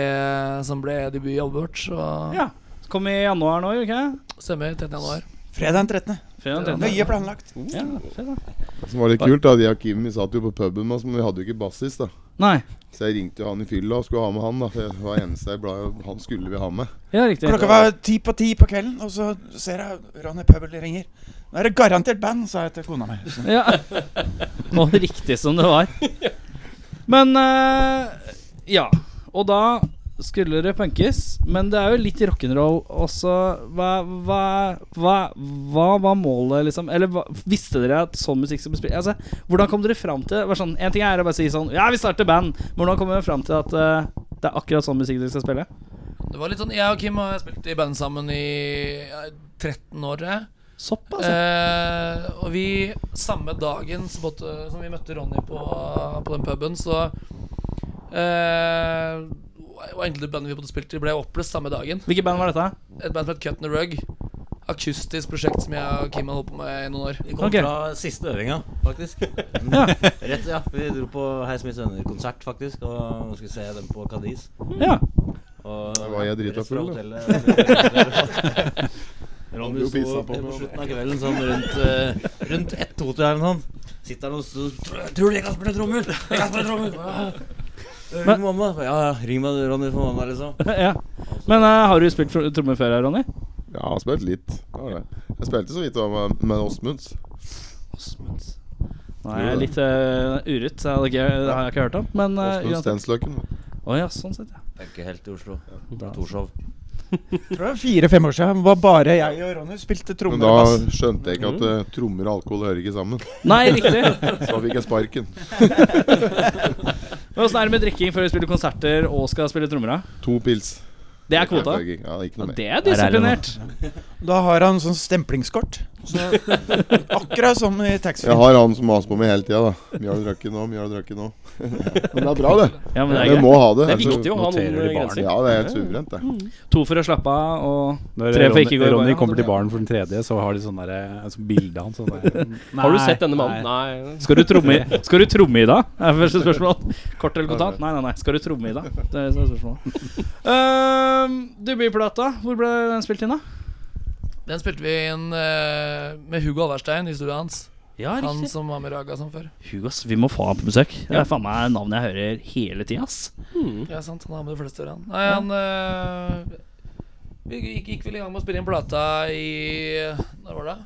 som ble debutalbumet vårt. Så Ja. Kom i januar nå, gjorde ikke det? stemmer. 13. januar. Fredag den 13. Fredag den 13. Nøye planlagt. Ja, fredag. Som var litt kult, da. De og Kim vi satt jo på puben, med oss, men vi hadde jo ikke bassist, da. Nei. Så jeg ringte jo han i fylla og skulle ha med han, da. For jeg var eneste jeg bla- han skulle vi ha med. Ja, riktig. Klokka var ti på ti på kvelden, og så ser jeg Ronny Pøbel ringer. Nå er det garantert band, sa jeg til kona mi. Så- (laughs) Ja. Og riktig som det var. Men eh, Ja. Og da skulle det punkes, men det er jo litt rock'n'roll også. Hva, hva, hva, hva var målet, liksom? Eller hva, visste dere at sånn musikk skulle bli spilt? Altså, hvordan kom dere fram til bare sånn, En ting er å bare si sånn Ja, vi starter band. Men hvordan kom dere fram til at eh, det er akkurat sånn musikk dere skal spille? Det var litt sånn, Jeg og Kim har spilt i band sammen i ja, 13 år. tror jeg. Såpass? ja. Eh, og vi, samme dagen som, både, som vi møtte Ronny på, på den puben, så eh, Og egentlig det bandet vi både spilte i, ble oppløst samme dagen. Hvilket band var dette? Et band som het Cut in the Rug. Akustisk prosjekt som jeg og Kim har holdt på med i noen år. Vi kom Ok. fra siste øvinga, faktisk. (laughs) Ja. Rett, ja. Vi dro på Heis Mitt Venner-konsert, faktisk, og skulle se dem på Cadiz. Ja. Og Da var jeg drita rett fra full, da. (laughs) hotellet- Ronny jo sto pissa på på, meg. slutten av kvelden sånn rundt, eh, rundt 1-2-tida eller noe sånt. Sitter han og så Tror du jeg kan spille trommer? Jeg kan spille trommer! Ja. Men- Ring mamma. Ja, ja. Ring meg, Ronny, for mamma, (laughs) liksom. (laughs) ja. Men eh, har du spilt tr- trommer før, Ronny? Ja, han spilte litt. Ja, det. Jeg spilte så vidt da med, med Åsmunds. Nei, jeg er litt eh, urut. så jeg hadde ikke- Det har jeg ikke hørt om. Men eh, Åsmund uansett. Stensløkken. Å ja, sånn sett, ja. Ikke helt i Oslo. Da- Fra Torshov. Jeg tror det var fire-fem år siden. Var bare jeg og Ronny spilte Men trommer da og bass. skjønte jeg ikke at eh, trommer og alkohol hører ikke sammen. Mm. Nei, riktig. Men (laughs) Så da fikk jeg (laughs) sparken. Åssen er det med drikking før du spiller konserter og skal spille trommer? da? To pils. Det er kvota. Tagging. Ja, ikke Ja, noe mer. det er disiplinert. Da har han sånn stemplingskort. Så, (laughs) akkurat som i Jeg taxfree. har han som maser på meg hele tida, da. Mjøldrakke nå, mjøldrakke nå. Men det er bra, det. Ja, men det er Vi greit. må ha det. Det er altså. viktig å ha noen noterer de barn. grenser. Ja, det er helt suverent, det. Mm. To for å slappe av, og Når Tre for Ronny, ikke gå i Ronny baren. kommer til baren for den tredje, så har de sånn derre altså, bilde av han sånn (laughs) der. Har du Nei, sett denne nei. mannen? Nei. Skal du tromme i, (laughs) skal du tromme i dag? er første spørsmål. Kort eller kontant? Nei, nei, nei. Skal du tromme (laughs) i dag? Det er det som er spørsmålet. Ehm, Debutplata, hvor ble den spilt inn, da? Den spilte vi inn eh, med Hugo Alverstein, historien hans. Ja, Han som var med Raga som før. Hugos, vi må få han på besøk. Det er faen meg navnet jeg hører hele tida, ass. Ja, sant, han har med de fleste ørene. Nei, han eh, Vi gikk, gikk vel i gang med å spille inn plata i Når var det?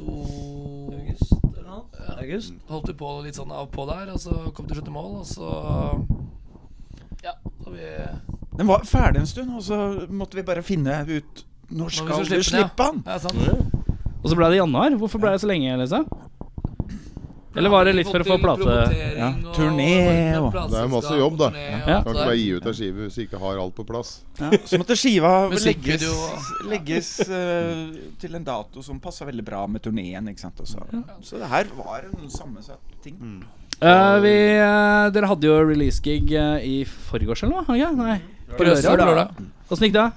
To August? Ja. August? Holdt vi på litt sånn av på der, og så kom til slutt i mål, og så Ja, da vi Den var ferdig en stund, og så måtte vi bare finne ut når Når vi skal vi slippe han? Ja, ja sant. Og så ble det januar. Hvorfor ble det så lenge, liksom? Eller var det litt for å få plate ja. Turné og- Det er masse jobb, da. Ja. Kan ikke bare gi ut ei skive hvis du ikke har alt på plass. Så måtte (laughs) skiva legges, Musikkvideo legges eh, til en dato som passa veldig bra med turneen. Ikke sant? Og så- Så det her var en sammensatt ting. Eh, vi, eh, dere hadde jo release-gig eh, i forgårs eller noe? har dere ikke? Nei. På lørdag. Åssen gikk det?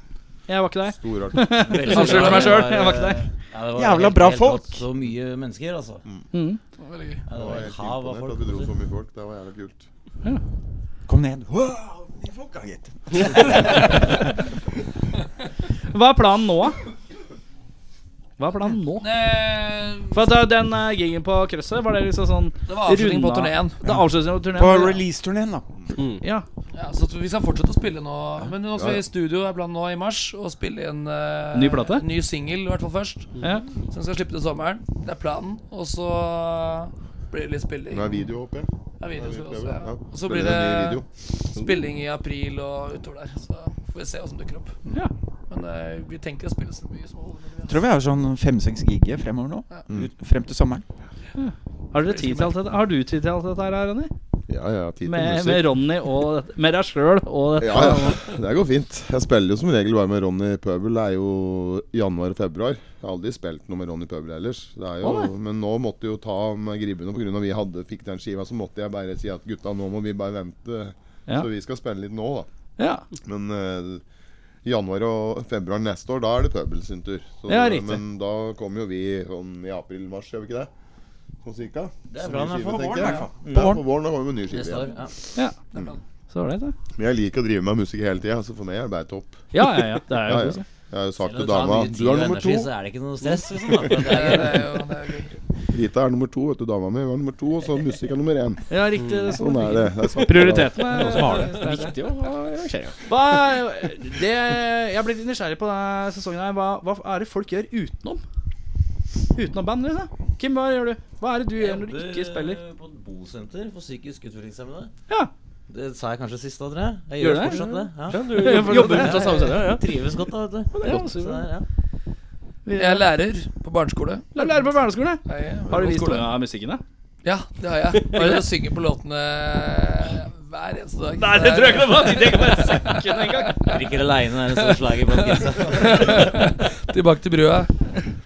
Jeg var ikke der. (laughs) Storart. Avslørte meg selv, jeg var ikke der. Ja, det var Jævla helt- bra helt rått. folk. Så mye mennesker, altså. Mm. Veldig gøy. Jeg Ja, det var var et helt hav av imponert folk. at vi (laughs) dro altså. så mye folk. Det var jævlig kult. Kom ned. Wow, de folka, gitt. (laughs) (laughs) Hva er planen nå, da? Hva er planen nå? Eh, For at eh, den eh, gigen på krøsset, var det liksom sånn Det var avslutning på Runda. turneen. Det avsluttes på På turneen? releaseturneen, da. Mm. Ja. Ja, så vi skal fortsette å spille nå. Men nå skal vi i studio er planen nå i mars og spille inn eh, Ny plate? Ny singel, i hvert fall først. ja. Så den skal slippe til sommeren. Det er planen. Og så blir det litt spilling. Med video, håper jeg. Ja, video Vi skal vi prøver, også, ja. ja. Og så Spiller blir en ny video. det spilling i april og utover der. Så får vi se hva som dukker opp. Mm. Ja. Men eh, vi tenker å spille så mye som overhodet mulig. Tror vi har sånn fem-seks gig fremover nå. Ut, frem til sommeren. Har dere tid til alt dette? Har du tid til alt dette her, Ronny? Ja, ja. Tid til Med, musikk. med Ronny og dette- Med deg sjøl og dette? Ja, ja. Det går fint. Jeg spiller jo som regel bare med Ronny Pøbel. Det er jo januar og februar. Jeg har aldri spilt noe med Ronny Pøbel ellers. Det er jo, men nå måtte jeg jo ta med gribbene pga. vi hadde, fikk den skiva. Så måtte jeg bare si at gutta, nå må vi bare vente. Ja. Så vi skal spille litt nå, da. Ja. Men eh, januar og februar neste år, da er det Pøbel sin tur. Så, Ja, riktig. Men da kommer jo vi sånn i april-mars, gjør vi ikke det? Sånn cirka. Det er bra, men Ny skive, for tenker våren, i jeg. hvert fall. Ja, på våren da kommer vi med ny skive Neste år. igjen. Ja. Så var det det. Mm. Men jeg liker å drive med musikk hele tida, så for meg er det bare topp. Ja, ja, ja. Det (laughs) er jo Ja, ja. koselig. Jeg har jo sagt Selv om til det tar dama mye Du tid og er nummer to. energi, Så er det ikke noe (laughs) stress. Liksom, da, for det Det er, er, det er jo, det er jo (laughs) gøy. Rita er nummer to, vet du. Dama mi var nummer to, og så musikk er nummer én. Ja, riktig. Mm. det er Sånn er det. det er sant. Prioritetene er også harde. Viktig å ha rangeringer. Hva er- det, jeg er blitt litt nysgjerrig på denne sesongen. her hva, hva er det folk gjør utenom? Utenom band? Liksom? Kim, hva gjør du? Hva er det du gjør når du ikke spiller? På et bosenter for psykisk utviklingshemmede. Ja. Det sa jeg kanskje sist, da, tror jeg. Jeg Gjør gjør, du det? fortsatt det. Ja. (laughs) Jobber Ja, du? ja, ja, ja. Trives godt, da, vet du. Ja, Så det supert. er, ja. Jeg er lærer på barneskole. Lærer lærer på barneskolen. jeg. Jeg er Har du på vist skole. noe av musikken, da? Ja, det har jeg. Jeg synger på låtene hver eneste dag. Nei, det tror jeg ikke noe på! De tenker bare sekken en gang. Drikker aleine er en sånn slager på kidsa. (laughs) Tilbake til brua.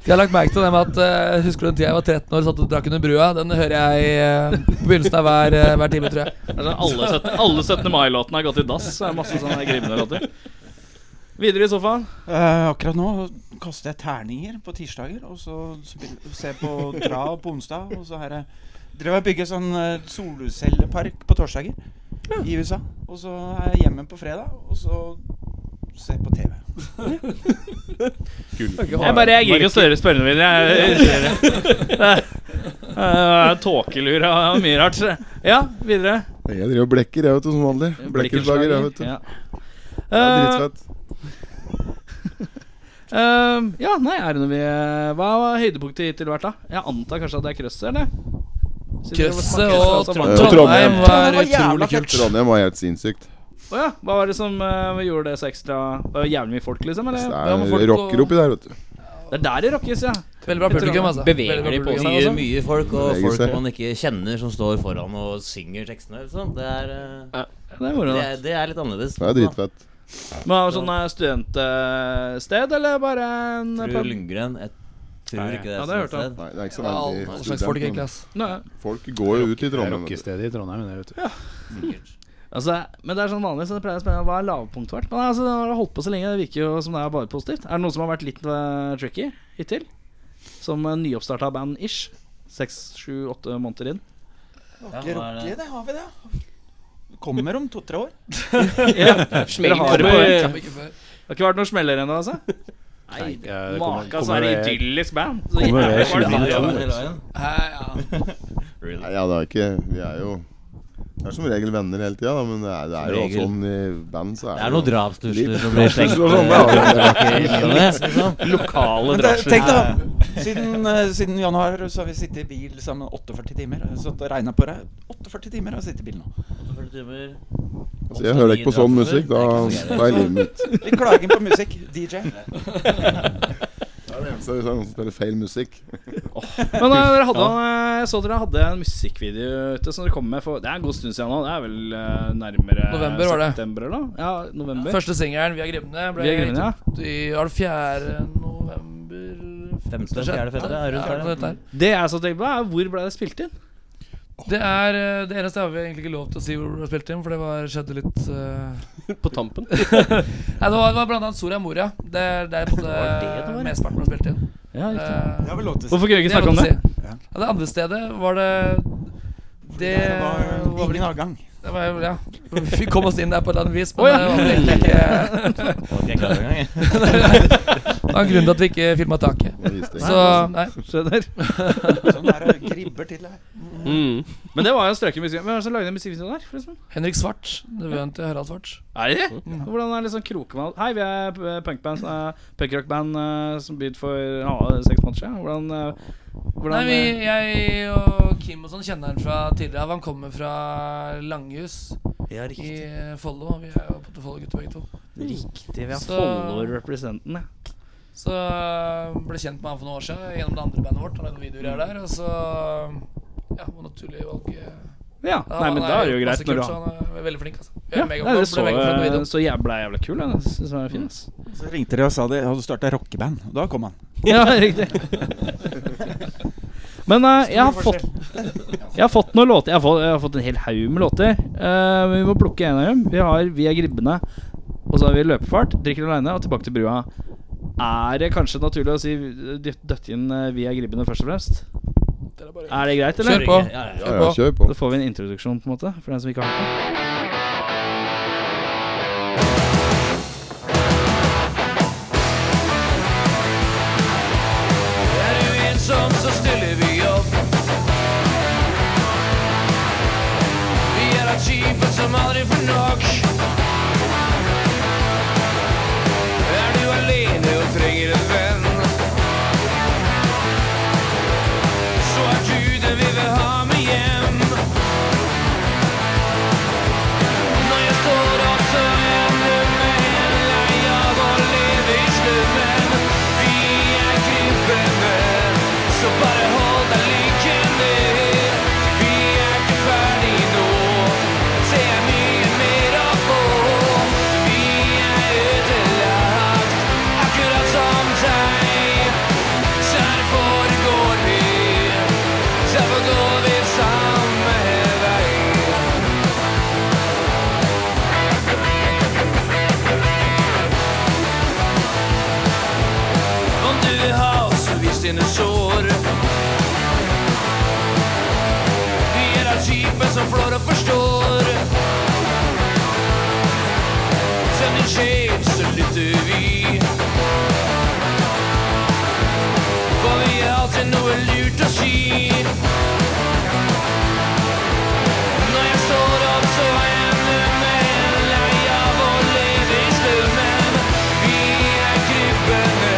Jeg har lagt merke til det med at eh, Husker du den tida jeg var 13 år og satt og drakk under brua? Den hører jeg eh, på begynnelsen av hver, eh, hver time, tror jeg. Altså, alle 17, alle 17. mai-låtene har gått i dass. så Det er masse sånne grimne låter. Videre i sofaen. Eh, akkurat nå kaster jeg terninger på tirsdager, og så spiller, ser på Dra på onsdag. Og så har jeg drevet og bygget sånn eh, solcellepark på torsdager i USA. Og så er jeg hjemme på fredag, og så ser på TV. Jeg bare jeg gidder ikke å spørre spørrende, Willy. (laughs) eh, Tåkelur og mye rart. Ja, videre. Jeg driver og blekker, jeg, vet du, som vanlig. Blekkerslager, jeg, vet du. Ja. Det er Eh, dritfett. Ehm, ja, nei, er det noe vi eh, Hva var høydepunktet hittil vært, da? Jeg antar kanskje at det er krøsset, eller? Siden det var Krøsset smaker, og altså, Trond- Eh, Trondheim. Trondheim var Det var jævla utrolig kult. Trondheim var helt sinnssykt. Å ja. Hva var det som eh, gjorde det så ekstra Var det jævlig mye folk, liksom? Det Eller? Ja, men folk er rocker og- oppi der, vet du. Det er der det rockes, ja. Veldig bra publikum, altså. Beveger Veldig bra de på publikum. seg, Mye, altså? mye folk, og Beveger folk seg. man ikke kjenner, som står foran og synger tekstene. Liksom. Det, er, eh, Det er moro. det, da. er, det er litt annerledes. Det er dritfett. Men har du sånn eh, studentsted, eller bare en Tror pub? Lundgren Jeg tror ikke det Ja, er det har jeg hørt sånn om. sted. Nei, det er ikke så All veldig slags folk, student, egentlig. men ass. Nei. Folk går jo ut i Det er Trondheim. vet du. rockestedet i Trondheim. Det, vet du. Altså, men det er sånn vanlig, så det pleier å spørre hva er lavpunktet vårt. Men altså, det har holdt på så lenge, det virker jo som det er bare positivt. Er det noen som har vært litt eh, tricky hittil? Som uh, nyoppstarta band-ish? Seks, sju, åtte måneder inn? Har ikke rocke det, har vi det? Kommer om to-tre (laughs) år. Smell Dere har kommer- det på- Kan vi ikke før. Det har ikke vært noen smeller ennå, altså? Nei, det kommer- Maka, så kommer er det det- idyllisk band. Så Kommer det jævlig var det 2022? tidligere. Hele veien. Hei, (laughs) ja. Nei, ja, det er ikke Vi er jo Det er som regel venner hele tida, da, men det er, det er jo Som regel. sånn i band så er Det er noen jo- drapstrusler Litt (laughs) som blir drapstrusler tenkt og sånn, ja. (laughs) (laughs) Lokale liksom. Men te- drasjer. tenk da, siden, eh, siden januar så har vi sittet i bil sammen 48 timer. Jeg har Satt og regna på det. 48 timer har vi sittet i bil nå. Altså, jeg hører ikke på sånn musikk. Da, da er livet mitt Vi klager på musikk. (laughs) DJ. Det er det eneste hvis det er noen som spiller feil (laughs) musikk. Men eh, dere hadde, eh, jeg så dere hadde en musikkvideo ute som dere kom med for Det er en god stund siden nå. Det er vel eh, nærmere November var det. september eller noe? Ja, november. Første singelen, 'Vi er grevne', ble Vi er grevne, ja. gitt ut i var det 4. november Femte, fjerde, femte, er rundt der, ja. rundt der. Det jeg så tenkte på, er hvor ble det spilt inn? Det er eh, det eneste har vi egentlig ikke lov til å si hvor du har spilt inn, for det var, skjedde litt eh, (laughs) på tampen. (laughs) Nei, det var, det var blant annet Soria Moria. Det er der på det, mesteparten ble spilt inn. Ja, riktig. Eh, vel lov til Hvorfor kunne vi det ikke er snakke om lov det? til å si. Ja, det andre stedet var det Det var vel ingen avgang. det var, Ja. Vi kom oss inn der på et eller annet vis, men Å, ja. det var vel egentlig ikke (laughs) Det var grunnen til at vi ikke filma taket. Det visste jeg ikke. Så (laughs) nei. Skjønner. Sånn er det gribber til her. Mm. Men det var jo en strøken musikk. Hvem er det som lagde den musikkvideoen der? forresten? Henrik Svart. Nevøen til Harald Svart. Er det det? Hvordan er liksom krokene Hei, vi er p- punkband, eh, punkrockband eh, som begynte for ja, seks måneder siden. Hvordan, eh, hvordan eh, Nei, vi, jeg og Kim og sånn kjenner han fra tidligere av. Han kommer fra Langhus Ja, i eh, Follo. og Vi er jo på Follo-gutter begge to. Riktig. Vi har Så- Follo-representen, ja. Så eh, ble kjent med han for noen år siden gjennom det andre bandet vårt. Han lagde videoer her der, og så Um, Ja, det var naturlig valg. ja. Nei, men da er det jo greit når du har har Han er veldig flink, altså. Vi er ja, mega- nei, det ble så, megaflink med eh, videoen. så jævla jævla kul. Den synes den er fin. ass. Så ringte de og sa de hadde starta rockeband. Og da kom han. Ja, (laughs) riktig. Men eh, jeg, har fått, jeg har fått noen låter. Jeg har fått, jeg har fått en hel haug med låter. Eh, men vi må plukke en av dem. Vi har Vi er gribbene, og så har vi løpefart, drikker aleine og tilbake til brua. Er det kanskje naturlig å si eh, dytt- døtte inn eh, Vi er gribbene først og fremst? Dere er bare- Er det greit, eller? Kjør på. Ja, ja, kjør på. Da får vi en introduksjon, på en måte, for den som ikke har hørt den. Er du ensom, så stiller vi opp. Vi er av typen som aldri får nok. Er du alene og trenger en venn, så er du den vi vil ha med hjem. Når jeg står opp, så ender med en lei av å leve i slummen. Vi er krypende, så bare hold deg liggende. Vi er ikke ferdig nå, det er mye mer å få. Vi er ødelagt, akkurat som deg. Der foregår vi, derfor går vi samme vei. Om du vil ha oss, så vis dine sår. Vi er av typen som flår og forstår. Send din sjel, så lytter vi. For vi har alltid noe lurt å si. Når jeg står opp, så er jeg nummen Lei av å leve i slummen Vi er krypende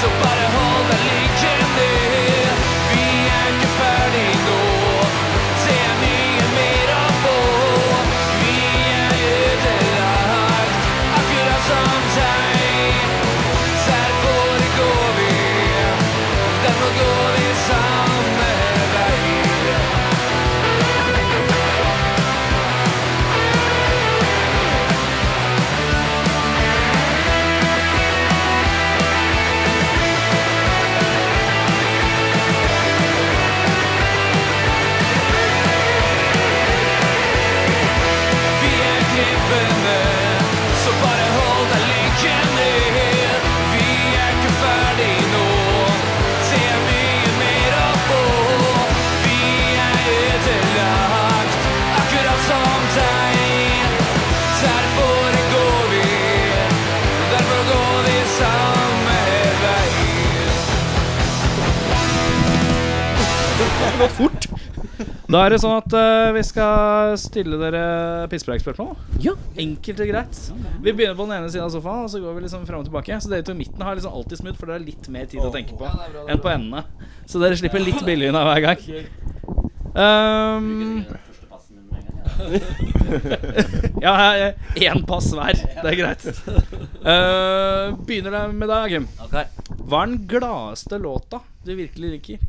Så bare hold deg liggende Vi er ikke ferdig nå Det er mye mer å få Vi er ødelagt Akkurat som deg Derfor går vi Derfor går vi samme vei har gått fort. Da er det sånn at eh, vi skal stille dere pisspreikspørsmål. Ja. Enkelt og greit. Vi begynner på den ene siden av sofaen, og så går vi liksom fram og tilbake. Så dere to i midten har liksom alltid smutt, for dere har litt mer tid å tenke på enn på endene. Så dere slipper litt billig unna hver gang. Um, (laughs) ja, én pass hver. Det er greit. Eh, begynner det med deg, Gym. Ok. Hva er den gladeste låta du virkelig liker?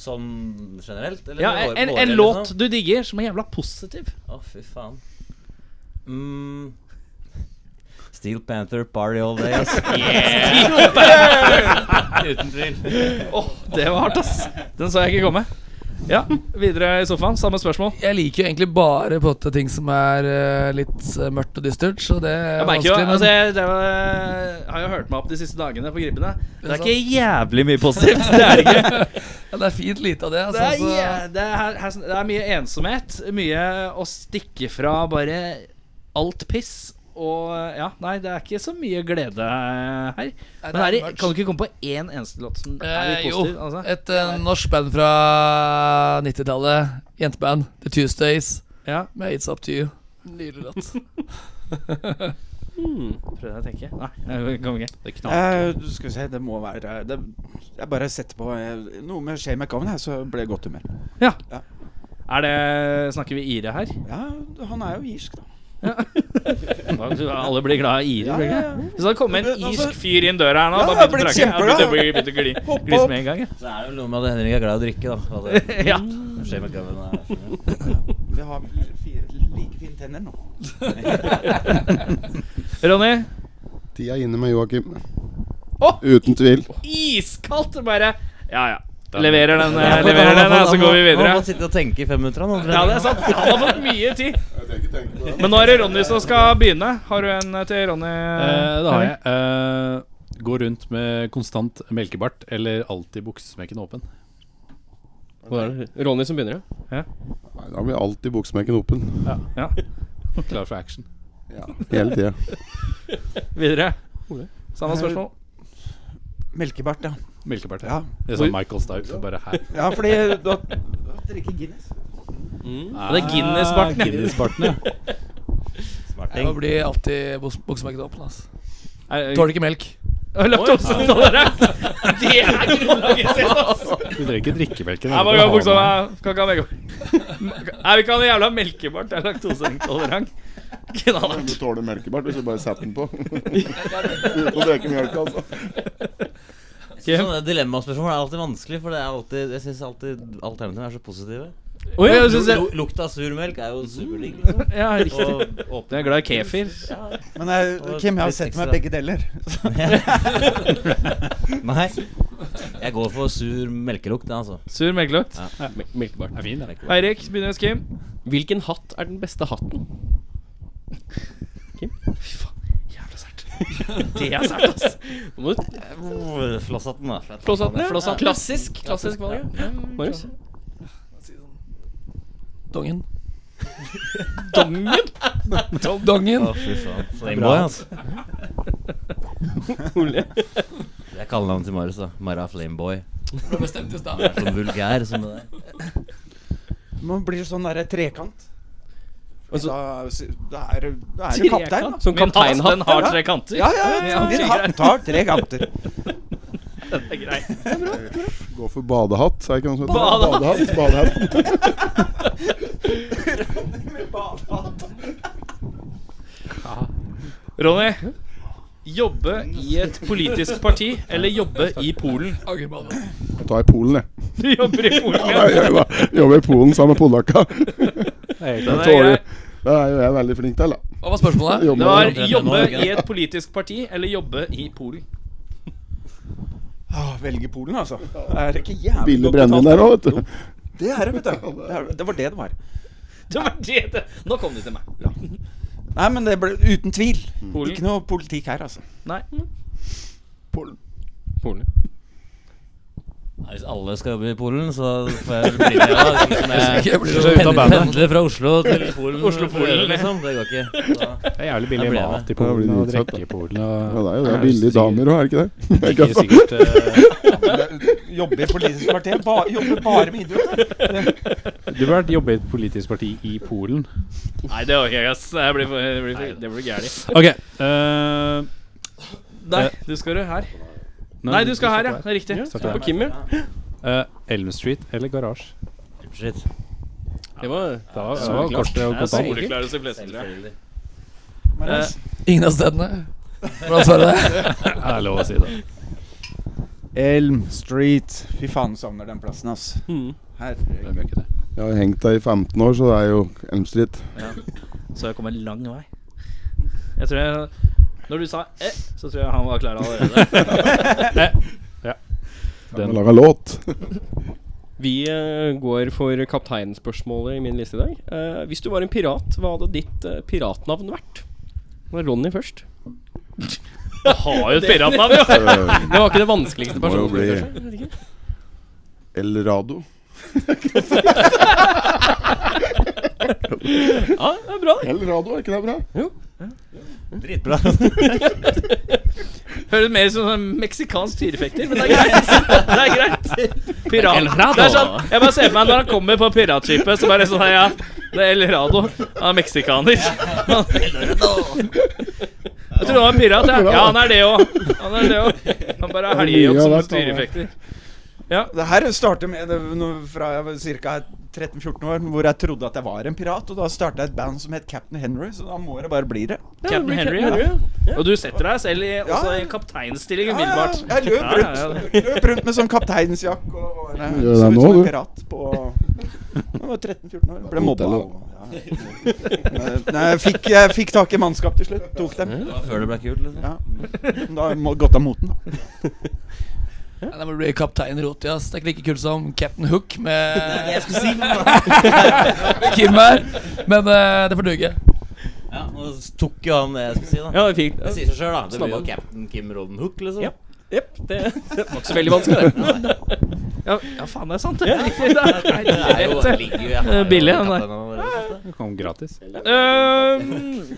Sånn generelt? eller Ja, med våre- en, våre, en liksom? låt du digger, som er jævla positiv. (laughs) Å, fy faen. Mm. Steel Panther, party all day, (laughs) (laughs) ass. Uten tvil. Åh, det var hardt, ass. Den så jeg ikke komme. Ja, videre i sofaen. Samme spørsmål. Jeg liker jo egentlig bare på en måte ting som er eh, litt eh, mørkt og dystert, så det er Jeg merker jo, vanskelig. men- altså jeg, det var, jeg har jo hørt meg opp de siste dagene på gripene. Det er sant. ikke jævlig mye positivt. Det er det ikke. (laughs) ja, det er fint lite av det. Det Altså, er, så- jæ- det er, her- her- det er mye ensomhet. Mye å stikke fra bare alt piss. Og ja, nei, det er ikke så mye glede her. Nei, det Men er er det, mørkt. kan du ikke komme på én eneste låt som er Eh, litt jo, positiv? Altså? et eh, norsk band fra 90-tallet. Jenteband. The Tuesdays Ja, med It's Up To You. Nydelig låt. (laughs) Hmm, prøvde jeg å tenke. Nei, jeg kom ikke. Det knaker. Eh, skal vi se, det må være det, Jeg bare setter på eh, noe med Shay McGowan, her, så ble jeg i godt humør. Er det, snakker vi ire her? Ja, han er jo irsk, da. Alle blir glad i ire. Ja, ja, blir ikke ja. det? Hvis det kommer en Altså- irsk fyr inn døra her nå, Ja, da jeg ble begynte å drikke. kjempeglad. Jeg begynte- begynte å gli- Hoppe glise opp. med en gang. jeg. Så er det vel noe med at Henrik er glad i å drikke, da. Og det- Mm. (laughs) Ja. Shane McGowan er Vi har vel fire like fine tenner nå. eh, Ronny, Tida er inne med Joakim. Å! Uten tvil. iskaldt bare Ja, ja. Leverer den, eh, leverer den, eh, så går vi Han må videre. sitte og tenke i fem minutter, han. Ja, det er sant. Han har fått mye tid. Men nå er det Ronny som skal begynne. Har du en eh, til Ronny? Eh, det har jeg. Eh, gå rundt med konstant melkebart eller alltid buksesmekken åpen. Hva er det? Ronny som begynner, ja. Nei, Da blir alltid buksmekken åpen. Klar for action. Ja, (laughs) Hele tida. Videre. Samme spørsmål. Melkebart, ja. Melkebart. Ja, Det er sånn Michael Stipe. Bare her. ja fordi da drikker Guinness. Mm. Det er Guinness-barten. ja. Guinness-barten, ja. Jeg blir alltid buks- buksemerket åpen. ass Er- Tåler ikke melk. Har du lagt opp sånn, (laughs) dere? Det er grunnlaget sitt, altså. Vi trenger ikke drikkemelken. Jeg må gå i buksa meg. Kan ikke ha begge. Nei, vi kan ha en jævla melkebart. Jeg er laktoseintolerant. Knallhardt. Du tåler melkebart hvis du bare setter (laughs) den på. Uten å drikke melk, altså. Sånne dilemmaspørsmål er alltid vanskelig, for det er alltid, jeg syns alltid alternativene er så positive. Oi, jeg synes Lu- jeg, lu- Lukt av sur melk er jo superdigg, liksom. ja, riktig. Og åpne Jeg er glad i kefir. Men jeg, Og Kim, jeg har litt sett meg ekstra. begge deler. (laughs) (laughs) Nei. Jeg går for sur melkelukt, jeg, altså. Sur melkelukt. Mel- Melkebart. Er fin, ja. Eirik, begynner hos Kim. Hvilken hatt er den beste hatten? Jævla sært. (laughs) Det er sært, (laughs) ass. Nå må du Flosshatten, da. Flosshatten, ja. Klassisk. Klassisk valg, ja. Marius? Dongen. Dongen. Dongen. Å, fy faen. Playboy, altså. (laughs) Ole? Jeg kaller navnet til Marius, da. Mara Flameboy. Det bestemte oss da. Jeg er så vulgær som det der. Man blir sånn derre trekant. Altså- da, da er du da er du kaptein, da. Som Min hatt, kapteinhatt? den har tre kanter. Ja, ja, ja. Din hatt har tre (laughs) kanter. Det er greit. Gå for badehatt, er det ikke noe som heter Badehatt. Badehatt, badehatt. (laughs) Ronny. Jobbe i et politisk parti eller jobbe i Polen? Aggerbane. Jeg tar i Polen, jeg. Du jobber i Polen, ja. Jeg gjør det. Jobber i Polen sammen med polakka. Den er tåler- grei. Det er jo jeg veldig flink til, da. Hva var spørsmålet? Jobber Det var med- jobbe i et politisk parti eller jobbe i Polen. Åh, velge Polen, altså. Det er ikke jævlig billig godt brennevin betalt. der òg, vet du. Det er det, vet du. Det, er, det var det det var. Det var det det Nå kom det til meg. Nei, men det ble uten tvil. Polen. Ikke noe politikk her, altså. Nei. Polen. Nei, Hvis alle skal jobbe i Polen, så får jeg vel bli med. da. Sånn som Hvis ikke, jeg blir jeg ute av pendler, bandet. pendler fra Oslo til Polen. Oslo-Polen, for å ja. gjøre det, liksom. Det går ikke. Da- Det er jævlig Da billig blir jeg mat med. i Polen og Det er jo drikke i Polen. Og Ja, det er jo det. Billige damer òg, er det ikke (laughs) det? Ikke sikkert eh, Jobbe i politisk kvarter. Ba, jobbe bare med idrett. da. (laughs) Du burde vært jobbe i et politisk parti i Polen. Nei, det orker jeg ikke, ass. Det blir, for- det blir, for- det blir gærlig. Ok eh, Nei, du skal du her. Nei, du skal her, ja. Det er riktig. Start der. På Kim, ja. Eh, Elm Street eller garasje? (laughs) Shit. Det var Da var kortet og kontant. Soleklare hos de fleste, tror jeg. Selvfølgelig. Eh, Ingen av stedene. Hvordan svarer du det? (laughs) Det er lov å si det. Elm Street. Fy faen, savner den plassen, ass. Mm. Mhm. Herregud. Jeg har hengt der i 15 år, så det er jo Elm Street. Så jeg kom en lang vei. Jeg tror jeg Når du sa eh, så tror jeg han var klar (laughs) allerede. Eh, Jeg laga låt. Vi eh, går for kapteinspørsmålet i min liste i dag. Eh, hvis du var en pirat, hva hadde ditt eh, piratnavn vært? Det var Ronny først. (laughs) Har jo et piratnavn, jo! Eh, Det var ikke det vanskeligste Må jo personen. bli kanskje? Jeg vet ikke. El Rado. Ja, det er bra. det. El Rado, er ikke det bra? (laughs) Dritbra. Høres mer ut som en meksikansk tyrefekter, men det er greit. (laughs) Det er greit. Pirat. Det er sånn, jeg bare ser for meg når han kommer på piratskipet, så bare sånn her, ja. Det er El Rado. Han er meksikaner. (laughs) Jeg trodde han var (laughs) pirat, ja. Ja, han er det òg. Han er det òg. Han bare har helgejobb som tyrefekter. Det her starter med det, når- fra jeg var ca. 13-14 år, hvor jeg trodde at jeg var en pirat. Og da starta jeg et band som het Captain Henry, så da må det bare bli det. Captain Henry. Henry, Ja. ja. Og du setter deg selv i, også i kapteinstilling umiddelbart. Ja, ja, jeg løp Ja, ja, ja. rundt, løp rundt med sånn kapteinsjakke og og- Gjør så det ut nå, som en du. pirat på Jeg var 13-14 år. Ble mobba. Hotellet. og- Ja. Men, Nei, jeg fikk, jeg fikk tak i mannskap til slutt. Tok dem. Det var før det ble kult, liksom. Ja. Da har jeg må- gått av moten, da. Nei, Det må bli Kaptein Roti. ass. Det er ikke like kult som Captain Hook med (laughs) Kim her. Men eh, det får duge. Ja, nå tok jo han det jeg skulle si, da. Ja, det er fint. Det sier seg sjøl, da. Det blir jo Snabba. Captain Kim Rodden Hook, liksom. Ja. Jep, det, det var ikke så veldig vanskelig, det. Ja, ja, faen, det er sant. Det er riktig. Det er- Det er jo, det ligger jo jeg har jo Billig, Ehm, kapteinen den der. allerede. Det kom gratis. Øhm,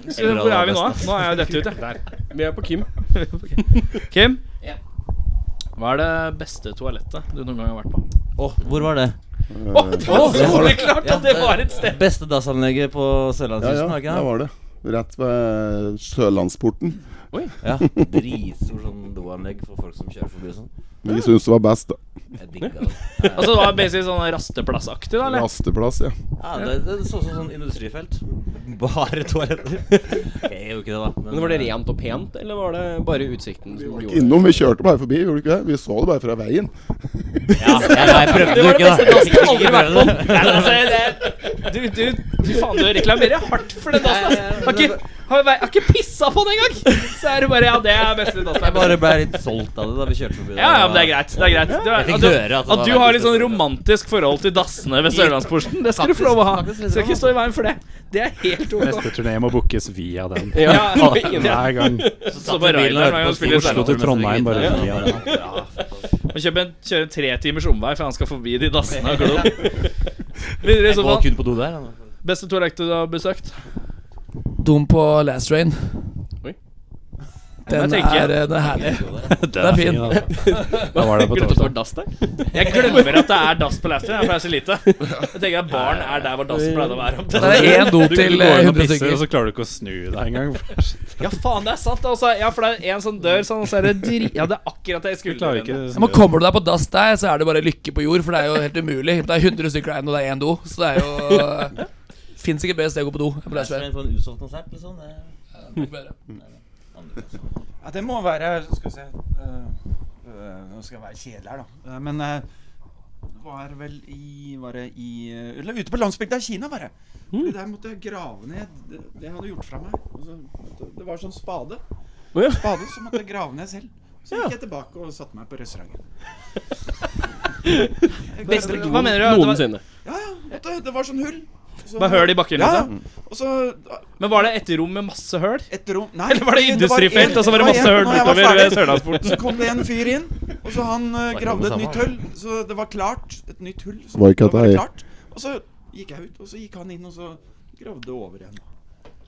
så hvor er vi nå? da? Nå er jeg dette ute. Der. Vi er på Kim. (laughs) Kim? Hva er det beste toalettet du noen gang har vært på? Åh, hvor var det? Soleklart at det var et sted! Beste dassanlegget på Ja, ja, Sørlandskysten, var det der ikke det? var det. Rett ved Sørlandsporten. (laughs) Ja, Dritstor sånn doanlegg for folk som kjører forbi og sånn. Vi syns det var best. da. Jeg digga det. Altså, det var basically sånn rasteplassaktig, da? eller? Rasteplass, ja. Ja, det, det så ut som sånn (laughs) industrifelt. Bare toaletter. Jeg gjør jo ikke det, da. eh, Men var det rent og pent, eller var det bare utsikten som gjorde det? Innom. Vi kjørte bare forbi, gjorde vi ikke det? Vi så det bare fra veien. Ja, jeg, jeg prøvde jo ikke, da. Det var det beste dassen jeg har aldri vært på. Nei, altså, det, du, du, fy faen, du reklamerer hardt for den dassen. ass. Har ikke, har, har ikke pissa på den engang! Så er det bare Ja, det er beste dassen. Jeg bare ble litt solgt av det da vi kjørte forbi. Ja, ja, men det er greit. Det er greit. Du, Jeg fikk altså, at du, høre at det at var du veldig har litt sånn spesielt. romantisk forhold til dassene ved Sørlandsporten. Det skal du få lov å ha. Faktisk, faktisk litt Skal ikke sånn, stå i veien for det. Det er helt ok. Neste turné må bookes via den. Ja, (laughs) ja. (laughs) Hver gang. Så bilen bare Reinhard og når han hørte på spiller Oslo Oslo Sørlandet. til Trondheim, bare via den. Må kjøpe en, kjøre en tre timers omvei, for han skal forbi de dassene og glod. Videre i så Var fall. kun på do der. da. Beste toalettet du har besøkt? Dum på Last Train. Oi. Den Den er, tenker jeg. eh, den er (laughs) herlig. (laughs) Den er fin. altså. Da var det på Glemte at det var torsdag. dass der? Jeg glemmer at det er dass på Laster. Jeg pleier så lite. Jeg tenker at baren er der hvor dassen pleide å være. Det er én do til Går eh, inn og 100 pisser, og stykker. så klarer du ikke å snu deg engang. Ja, faen, det er sant. Altså. Ja, for det er en sånn dør sånn, og så er det dri... Ja, det er akkurat det jeg Du skulle. klarer ikke Ja, men Kommer du deg på dass der, så er det bare lykke på jord, for det er jo helt umulig. Det er 100 stykker der, og det er én do, så det er jo Fins ikke bedre sted å gå på do enn på Last Det er Train. en sånn utsolgt konsert, liksom. Det Mm. Ja, det må være Skal vi se øh, øh, Nå skal jeg være kjedelig her, da. Eh, men eh, det var vel i Var det i eh, Eller ute på landsbygda i Kina, var det. Mm. Fordi der måtte jeg grave ned det, det jeg hadde gjort fra meg. Og så måtte- det var sånn spade. Å ja. Spade som måtte jeg grave ned selv. Så gikk jeg tilbake og satte meg på restauranten. (laughs) Beste, hva mener du? Det var- Noensinne. Ja, ja. måtte- Det var sånn hull. Så- Bare høl i bakken, Ja, liksom? ja. Og så Men var det et rom med masse høl? et rom Nei, Eller var det en- industrifelt, og så var det masse en- høl når jeg var utover ferdig, ved Sørlandsporten? Så kom det en fyr inn Og så han eh, Det er gravde ikke et det nytt hull, samme. så det var klart. Et nytt hull. Så Var ikke det at jeg- klart. Og så gikk jeg ut, og så gikk han inn, og så gravde over igjen.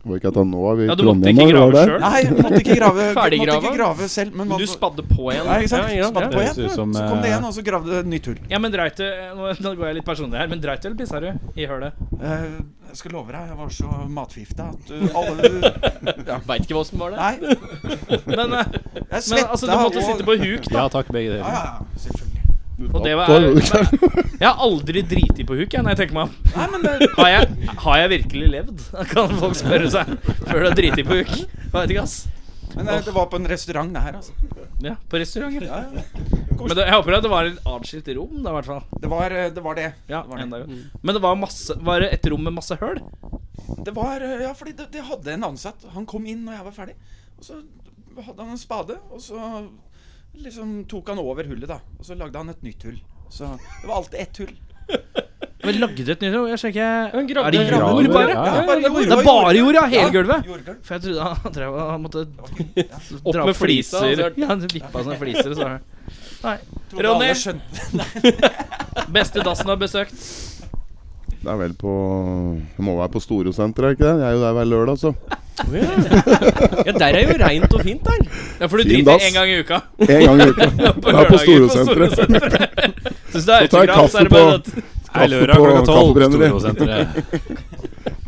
Var ikke at han nå er vi i Ja, du Trondheim? måtte ikke eller var grave det? selv? Nei, jeg måtte ikke grave, Ferdiggrava? måtte ikke grave selv. Men, Men du spadde på igjen. Ja, ikke sant? Ja, ja, spadde ja. på Høres igjen. ut som, så kom det eh, igjen, og så gravde det et nytt hull. Ja, men dreit du Nå, nå går jeg litt personlig her, men dreit du eller pissa du i hølet? Eh, jeg skal love deg, jeg var så matforgifta at uh, alle (laughs) Ja, Veit ikke hva som var det. Nei. (laughs) Men, eh, Jeg men svetta altså, du måtte og- sitte på huk, da. Ja takk, begge deler. Ja, ja, ja, selvfølgelig. Og det var, Da var men, du klar. (laughs) jeg har aldri driti på huk, jeg, når jeg tenker meg om. Nei, men det- har, jeg, har jeg virkelig levd? Kan folk spørre seg før du har driti på huk. Jeg vet ikke, ass. Men eh, det var på en restaurant, det her, altså. Ja, på restauranten. Ja, ja. Men det, jeg håper at det var et atskilt rom, da, i hvert fall. Det var eh, det. Var det. Ja, det, var det. enda godt. Men det var masse Var det et rom med masse høl? Det var, eh, ja, fordi det, det hadde en ansatt. Han kom inn når jeg var ferdig. Og så hadde han en spade, og så liksom tok han over hullet, da. Og så lagde han et nytt hull. Så det var alltid ett hull. Men lagde et nytt rom? Jeg sjekker Men gravde- Er det gravde- jord, bare? Ja, ja, Ja, bare det er jord, det er det var bare jord. jord, ja. Ja, Hele gulvet. jordgulv. For jeg trodde han drev og måtte Opp dra med opp flisa, fliser. altså. Ja, han vippa sånne fliser, og så var det- Nei. Trodde Ronny, alle skjønte (laughs) beste dassen du har besøkt? Det er vel på Det må være på Storosenteret, er det ikke det? Jeg er jo der hver lørdag, så. Ja, der er jo reint og fint, der. Ja, for du Fin driter dass. én gang i uka. En gang (laughs) i uka. På Jeg er på lørdager Storosenteret. Syns du det er Så tar jeg autograf, så er kaffe det bare på- at Hei, lørdag på klokka tolv. kaffebrenneri. Storosenteret.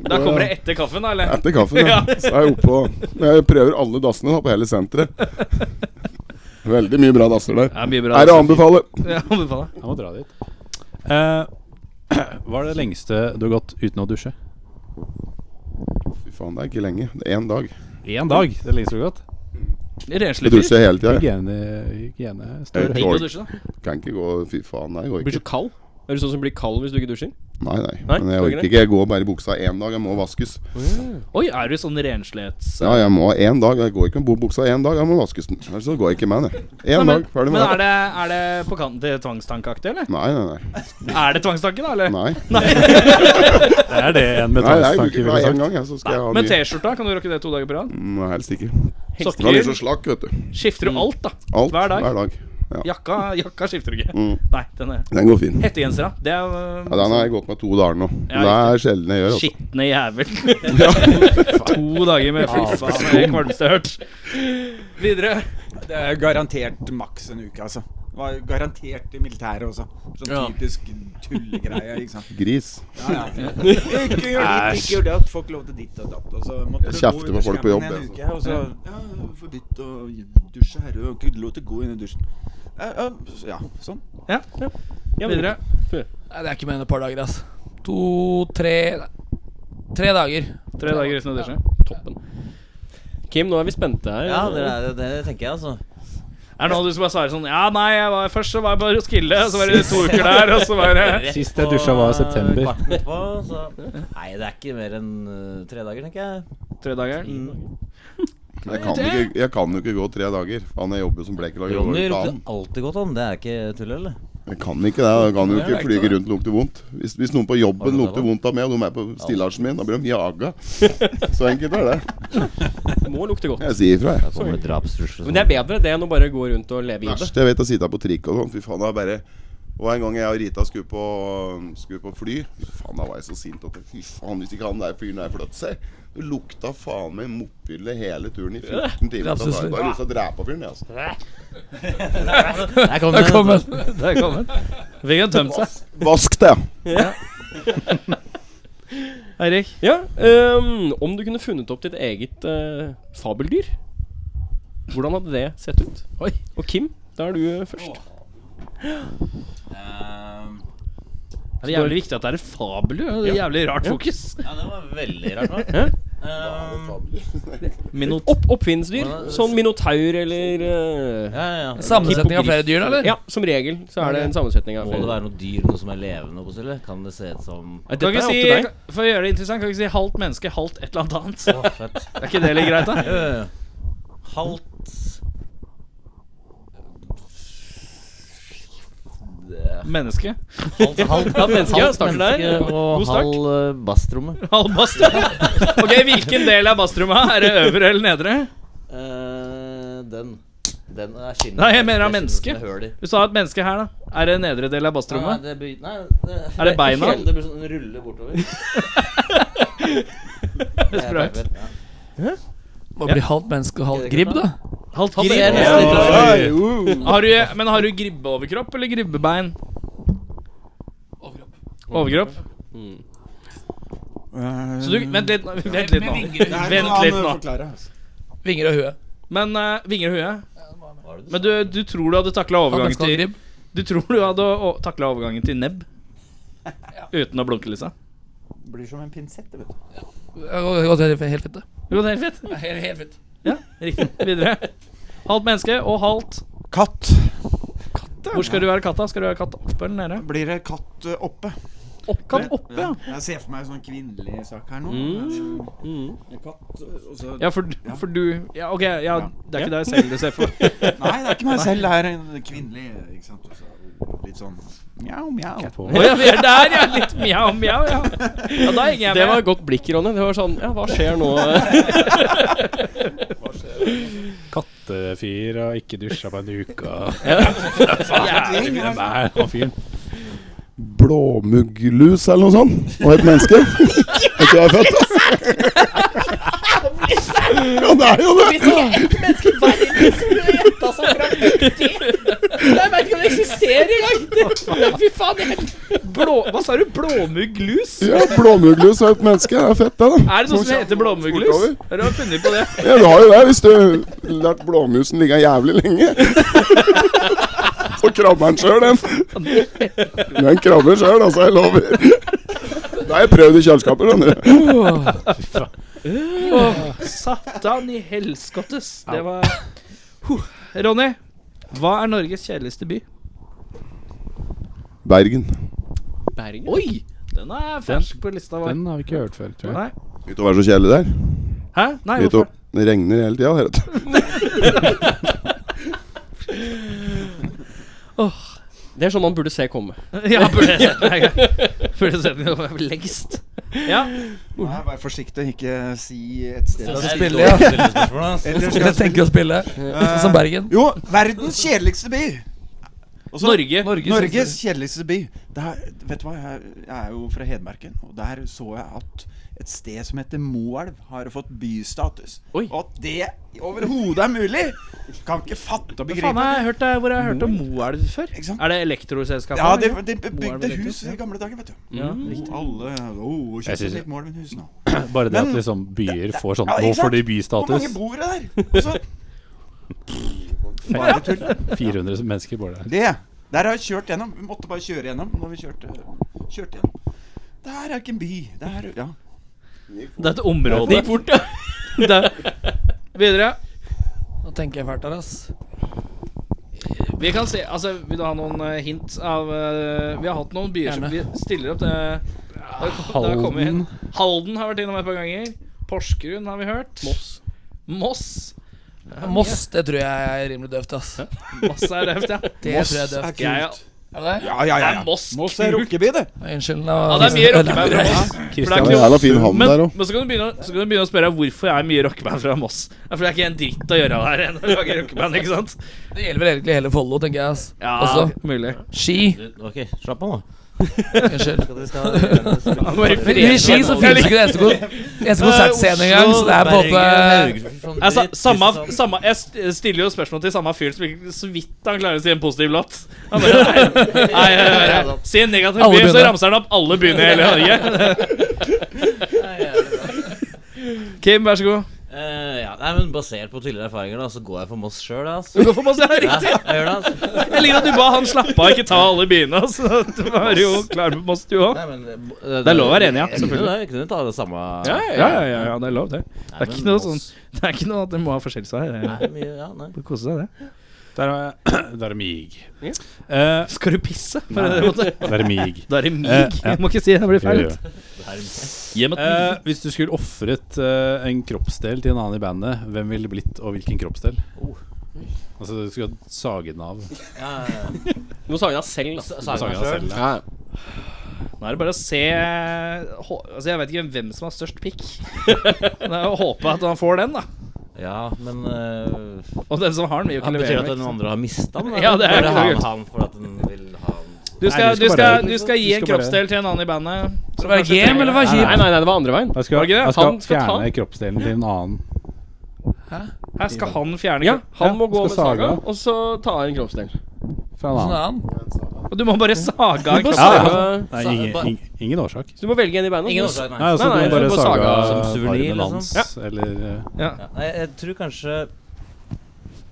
Da kommer det etter kaffen, da, eller? Etter kaffen, ja. Så er jeg oppe og Jeg prøver alle dassene da, på hele senteret. Veldig mye bra dasser der. Ja, mye bra. Er å anbefale. Ja, anbefaler. Jeg må dra dit. Eh, (clears throat) hva er det lengste du har gått uten å dusje? Fy faen, det er ikke lenge. Det er én dag. Én dag. Det er liksom lengste du har gått. Renslig Jeg fyr. dusjer hele tida. Hygiene, hygiene Jeg står høyt. Digg å tåler- dusje, da. kan ikke gå Fy faen, nei, jeg går Du (laughs) blir ikke. så kald. Er du sånn som blir kald hvis du ikke dusjer? Nei, nei. Nei, Men jeg går ikke orker ikke. Jeg går bare i buksa én dag. Jeg må vaskes. Oi, er du sånn renslets... Ja, jeg må én dag. Jeg går ikke med buksa én dag. Jeg må vaskes den. Ellers så går jeg ikke med den. Nei, Én men, dag. Ferdig men er med det. det, er det på kanten til tvangstankeaktig, eller? Nei, nei, nei. Er det tvangstanke, da, eller? (laughs) Nei, Det er det nei en jeg bruker metallstanke ikke ville én sagt. gang, jeg, så skal jeg ha Men mye. T-skjorta, kan du rocke det to dager på rad? Mm, Nei, helst ikke. Den blir Sokker så slakk, vet du. Mm. skifter du alt, da. Alt. Hver Hver dag. dag. Ja. Jakka, jakka skifter du ikke. Mm. Nei, den er Den går fin. Hettegensera. Det er øh, Ja, den har jeg gått med to dager nå. Ja, det er sjelden jeg gjør. Altså. skitne jævel. (laughs) (laughs) to dager med fy faen, det er kvalmeste jeg har hørt. Videre. Det er garantert maks en uke, altså. Det var garantert i militæret også. Sånn Ja. typisk tullegreie. ikke sant? Gris. Ja, ja. Ikke gjør ditt, ikke gjør datt. Får ikke lov til ditt og datt. Og så måtte Jeg du kjefter gå ut på av folk på jobb, altså. skjermen en jeg, uke, Og så Ja, forbudt å dusje her. Du har ikke lov til å gå inn i dusjen. Ja, ja, så- ja, sånn. Ja. Videre. Nei, det er ikke mer enn et par dager, ass. To, tre nei, Tre dager. Tre dager uten å dusje. Toppen. Kim, nå er vi spente her. Ja, det, er, det tenker jeg, altså. Er det noen av du som bare svarer sånn Ja, nei, jeg var, først så var jeg på Roskilde, så var det to uker der, og så var (laughs) det Sist jeg dusja var i september. Kvarten etterpå, så Nei, det er ikke mer enn eh, tre dager, tenker jeg. Mm. Tre dager. Jeg kan, jo ikke, jeg kan jo ikke gå tre dager. Faen, jeg jobber som blekelager. Jeg går Ronny jo ikke lukter an. alltid godt om. Det er ikke tull, eller? Jeg kan ikke det. Jeg kan jo Jeg ikke vet flyge det. rundt og lukte vondt. Hvis, hvis noen på Har du jobben det lukter da? vondt av meg, og de er på stillasen min, da blir de jaga. Så enkelt er det. (laughs) Må lukte godt. Jeg sier ifra, jeg. Da kommer det drapstrusler og sånn. Men det er bedre det enn å bare gå rundt og leve i det. Verst jeg vet, er å sitte her på trikk og sånn. Fy faen, det er bare og en gang jeg og Rita skulle på, skulle på fly Fy Faen, da var jeg så sint at jeg- Fy faen, hvis ikke han der fyren der flyttet seg Det lukta faen meg mopphyllet hele turen i 14 timer. Da har jeg bare lyst til å drepe fyren, jeg, altså. sånn. Der kom det. Der kom den. Fikk han tømt seg. Vask det, ja. (laughs) Eirik. Ja, ehm, Om du kunne funnet opp ditt eget eh, fabeldyr, hvordan hadde det sett ut? Oi. Og Kim, da er du eh, først. Ehm, Det er jævlig viktig at det er et fabel, jo. Det er Jævlig rart fokus. ja, det var veldig rart nå. Hæ? Ehm, Minot. Opp, oppfinnsdyr. Sånn minotaur eller eh, ja, ja, ja. Sammensetning av flere dyr, da, eller? Ja, som regel så er det en sammensetning av Må det flere. være noe dyr, noe som er levende? oppå, Eller? Kan det se ut som Nei, Kan Dette er ikke opp si, til deg. for å gjøre det interessant, kan ikke si halvt menneske, halvt et eller annet annet. Å, fett. Er ikke det litt greit, da? Jo, jo, jo. Halvt Menneske. Halvt, halvt, halvt menneske, ja, starter der. menneske og God start. halv eh, basstromme. Halv badstue. (laughs) Ok, hvilken del av badstrommet? Er det øvre eller nedre? Eh, den. Den er skinnende. Nei, jeg mener Det av er menneske. skinnende høl i. Du sa et menneske her, da. Er det nedre del av Nei, basstrommet? det blir, nei, det, Er (laughs) det beina? Det blir sånn rulle (laughs) bortover. Det er bra ut. Ja. Hva blir halvt menneske og halvt gribb, da? Halvt Han ser gribb. nesten ikke ut. uh. Har du, men har du gribbeoverkropp eller gribbebein? Overkropp. Så du, vent litt, nå, vent litt nå. Vent litt nå. Vinger og hue. Men eh, vinger og hue? Men du, du tror du hadde takla Halvt overgangen menneske og halvt til gribb. Du tror du hadde takla overgangen til nebb? Uten å blunke, liksom? Blir som en pinsett, vet du. Ja, det går helt helt fint, (laughs) det. Det går helt fint. Ja, Helt, helt fint. Ja, riktig. Videre. Halvt menneske og halvt Katt. Hvor skal du være katta? Skal du være katt oppe eller nede? Blir det katt eh, oppe? Katt oppe, ja. Jeg (laughs) ser for meg en sånn kvinnelig sak her nå. Eh, En katt, og så Mm. Ja, for, for du Ja, OK, ja, det er ikke deg selv du ser for. (laughs) Nei, det er ikke meg selv. Det er en kvinnelig, ikke sant. Og så litt sånn mjau, mjau. På. Å ja, vi er der, ja. Litt mjau, mjau, ja. Ja, da henger jeg med. Det var et godt blikk, Ronny. Det var sånn Ja, hva skjer (laughs) nå? Kattefyr og ikke dusja på en uke. og- (laughs) Jævlig mye. Hvem er han fyren? Blåmugglus eller noe sånt. Og et menneske. Vet du hva jeg er født, altså. ass? Ja, det er jo det! Blå, hva sa du? Blåmugglus? Ja, Blåmugglus og et menneske. Det er fett, det, da. Er det noe som heter blåmugglus? Har du funnet på det? Ja, du har jo det hvis du lar blåmusen ligge jævlig lenge. Så krabber den sjøl, den. Den krabber sjøl, altså. Jeg lover. Det har jeg prøvd i kjøleskapet, skjønner du. Åh, satan i helskottes. Det var huh. Ronny, hva er Norges kjedeligste by? Bergen. Bergen? Oi! Den er fersk på lista vår. Den har vi ikke hørt før, tror jeg. Nei. Vet du hva er så kjedelig der? Hæ? Nei, Vet du, hvorfor? det regner hele tida, vet du. Det er sånn man burde se komme. Ja, burde jeg sett den her. Burde sett den over lengst. Ja. Nei, vær forsiktig, ikke si et sted. Det Altså. er litt dårlig stillespørsmål, ass. (laughs) Ellers Jeg skal- tenker å spille sånn som Bergen. Eh, Jo, verdens kjedeligste by. Norge. Norges kjedeligste by. Der, vet du hva, jeg, jeg er jo fra Hedmarken, og der så jeg at et sted som heter Moelv, har fått bystatus. Oi. Og at det overhodet er mulig! Kan ikke fatte og Men faen, begripe. jeg har hørt det, hvor jeg har hørt om Moelv før. Ikke sant? Er det elektroselskapet? Ja, de, eller? de Moelv bygde Elektro, hus ja. i gamle dager, vet du. Ja, Og alle oh, Jeg synes- kjøpte sitt Moelven hus nå. (laughs) Bare det at Men- liksom byer får sånn Ja, ikke Nå får sant? Hvor de mange bystatus. bor det der? Og så- Bare tull. 400 mennesker bor der. Det. Der har vi kjørt gjennom. Vi måtte bare kjøre gjennom når vi kjørte. Kjørte gjennom. Det her er ikke en by. Det her, ja. Det er et område. Gikk fort, ja. Videre. Nå tenker jeg fælt her, ass. Vi kan se Altså, vil du ha noen eh, hint av eh, Vi har hatt noen byer som vi stiller opp. Det, det, har- det har kommet Halden. inn. Halden har vært innom et par ganger. Porsgrunn har vi hørt. Moss. Moss, Moss, det tror jeg er rimelig døvt, ass. Moss er røft, ja. Det tror jeg er døvt. Jeg, Er det det? Ja, ja, ja. er Moss. Moss er rockeby, det. Unnskyld. Ja, det er mye rockeband fra Moss. For det Det er er ikke en noe jævla fin havn men, der òg. men så kan du begynne, å- så kan du begynne å spørre hvorfor jeg er mye rockeband fra Moss. Ja, For det er ikke en dritt å gjøre her enn å lage rockeband, ikke sant? Det gjelder vel egentlig hele Follo, tenker jeg. ass Ja, Også mulig. Ski. Ok, slapp av, da. Unnskyld. Dere skal Han bare Men I Ski så finnes ikke det SK SK Eh, konsertscene engang, så det er på en måte Jeg, sa, Altså, samme, samme, jeg st- stiller jo spørsmål til samme fyr som ikke så vidt han klarer å si en positiv låt. Han bare, nei, nei, nei, nei, nei. Si en negativ Alle by, så byene. ramser han opp alle byene i hele (laughs) Norge. Kim, vær så god. Eh, ja, nei, men Basert på tidligere erfaringer da, så går jeg for Moss sjøl. Altså. Du går for Moss, ja. Ja, Riktig. jeg gjør det. Altså. Jeg liker at du ba han slappe av, ikke ta alle byene. Så du var jo klar med Moss, du òg. Nei, men, eh, bo- eh, Det er lov å være enig, ja, Jeg kunne, selvfølgelig. jeg kunne ta det samme Ja, ja, ja, ja, det er lov, det. Nei, Det er men ikke noe sånn Moss- Det er ikke noe at det må ha forskjellig svar. Nei, Det mye, ja, nei. er- Kose deg, det. Der er, (clears throat) der er mig. Ja. Eh, Skal du pisse? På det måte? der er mig. Da er det Eh, mig. ja. Jeg må ikke si det, det blir feil. Jo, jo. Eh, hvis du skulle ofret eh, en kroppsdel til en annen i bandet, hvem ville det blitt, og hvilken kroppsdel? Altså, du skulle sage den av. Ja, ja, ja. Du må sage deg selv, da. Sa- sa jeg Sage meg av selv? selv. Ja. Nå er det bare å se (laughs) hå- Altså Jeg vet ikke hvem som har størst pikk. Men Det er å håpe at han får den, da. Ja, men eh, Og den som har den, vil jo ja, ikke levere Betyr at den, ikke den sant? andre har mista den? Ja, det er Bare ikke har noe den gøy. han for at den vil ha den. Du skal, du du, skal skal, bare- du skal gi du en skal bare- kroppsdel til en annen i bandet. Skal det være Kanskje game, tre. eller være Nei, kjip? nei, nei, det var andre veien. Jeg Var skal, det ikke det? jeg skal Han skal ta fjerne den. kroppsdelen til en annen. Her skal han fjerne Ja, kropp. han Ja, må gå skal med saga, saga. og så ta en kroppsdel. Fra en Sånn er annen. han. Og du må bare sage av Så, eh, kroppen. Nei, ingen, ingen, ingen årsak. Så du må velge en i bandet. Ingen så- årsak, nei. Nei, altså, Nei, nei, du må bare på saga saga som suvenir, armen liksom. hans, Eller eh, Ja, nei, jeg tror kanskje